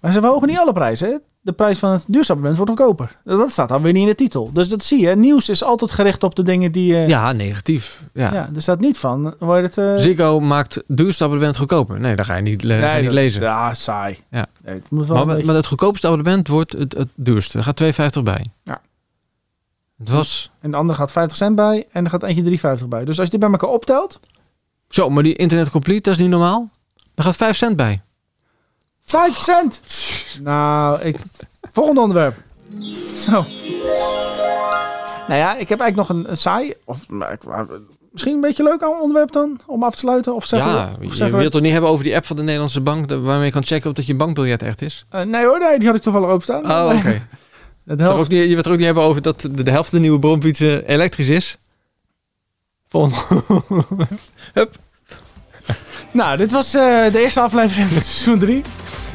S1: Maar ze verhogen niet alle prijzen. hè? De prijs van het duurzaamabonnement wordt goedkoper. Dat staat dan weer niet in de titel. Dus dat zie je. Nieuws is altijd gericht op de dingen die... eh,
S2: Ja, negatief. Ja.
S1: ja. er staat niet van. eh, Waar het, eh,
S2: Ziggo maakt duurste abonnement goedkoper. Nee, dat ga je niet, le- ga je niet
S1: dat-
S2: lezen.
S1: Ja, saai.
S2: Ja.
S1: Nee, het moet wel
S2: Maar,
S1: een
S2: maar
S1: beetje-
S2: het goedkoopste abonnement wordt het, het duurste. Er gaat 2,50 bij.
S1: Ja.
S2: Het was...
S1: En de andere gaat 50 cent bij. En er gaat eentje 3,50 bij. Dus als je dit bij elkaar optelt...
S2: Zo, maar die internet complete, dat is niet normaal. Daar gaat 5 cent bij.
S1: 5 cent! Nou, ik... Volgende onderwerp. Zo. Nou ja, ik heb eigenlijk nog een, een saai... Of, maar ik- maar- misschien een beetje leuk onderwerp dan? Om af te sluiten? Of zeggen
S2: ja,
S1: we, of
S2: je
S1: zeggen we-
S2: wilt toch niet hebben over die app van de Nederlandse bank... dat- waarmee je kan checken of dat je bankbiljet echt is?
S1: Eh, nee hoor, nee, die had ik toevallig openstaan.
S2: Oh, oké.
S1: Dat
S2: Toch ook
S1: helft.
S2: niet- Je wilt er ook niet hebben over dat de, de helft van de nieuwe bromfietsen elektrisch is? Volgende.
S1: Nou, dit was eh, de eerste aflevering van seizoen 3. Ik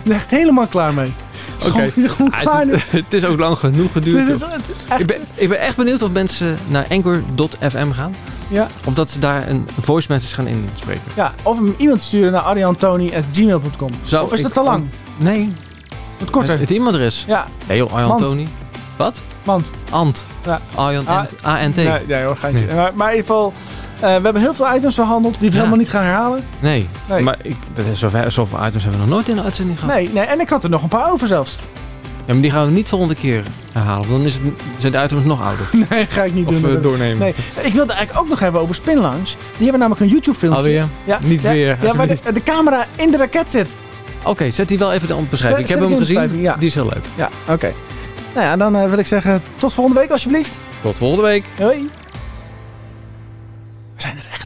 S1: ben echt helemaal klaar mee. Het is
S2: Oké.
S1: gewoon, gewoon
S2: Ah,
S1: klaar nu.
S2: het, het is ook lang genoeg geduurd.
S1: Dit is
S2: joh.
S1: het,
S2: ik,
S1: echt,
S2: ben, ik ben echt benieuwd of mensen naar anchor.fm gaan.
S1: ja,
S2: Of dat ze daar een voice message gaan inspreken.
S1: ja, of hem iemand sturen naar ariantoni.gmail.com.
S2: Zou
S1: Of is
S2: ik-
S1: dat te lang?
S2: Nee,
S1: Wat
S2: het,
S1: korter.
S2: het e-mailadres.
S1: Ja,
S2: Nee joh, Arjan
S1: Want-
S2: Tony. Wat?
S1: Want,
S2: Ant.
S1: Ja.
S2: Arjan
S1: Ah,
S2: Ant. ANT.
S1: nee, nee hoor, geintje.
S2: Nee.
S1: Maar, maar in ieder geval, eh, we hebben heel veel items behandeld die we
S2: Ja. Oh.
S1: helemaal niet gaan herhalen.
S2: Nee.
S1: Nee.
S2: Maar ik, dat is zover, zoveel items hebben we nog nooit in de uitzending gehad.
S1: Nee, nee, en ik had er nog een paar over zelfs.
S2: Ja, maar die gaan we niet volgende keer herhalen. want Dan is het, zijn de items nog ouder.
S1: Nee, ga ik niet
S2: of
S1: doen.
S2: eh,
S1: Dat-
S2: doornemen.
S1: Nee, ik wilde eigenlijk ook nog hebben over Spin Lounge. Die hebben namelijk een YouTube filmpje.
S2: Alweer?
S1: Ja,
S2: Niet
S1: ja,
S2: weer,
S1: Ja, waar
S2: alsjeblieft.
S1: de, de camera in de raket zit.
S2: Oké, zet die wel even in de
S1: Zet-
S2: beschrijving.
S1: zet
S2: ik heb
S1: ik in
S2: hem
S1: de
S2: gezien.
S1: beschrijving, ja.
S2: Die is heel leuk.
S1: Ja, oké. Nou ja, dan eh, wil ik zeggen tot volgende week alsjeblieft.
S2: Tot volgende week.
S1: Hoi. We zijn er echt.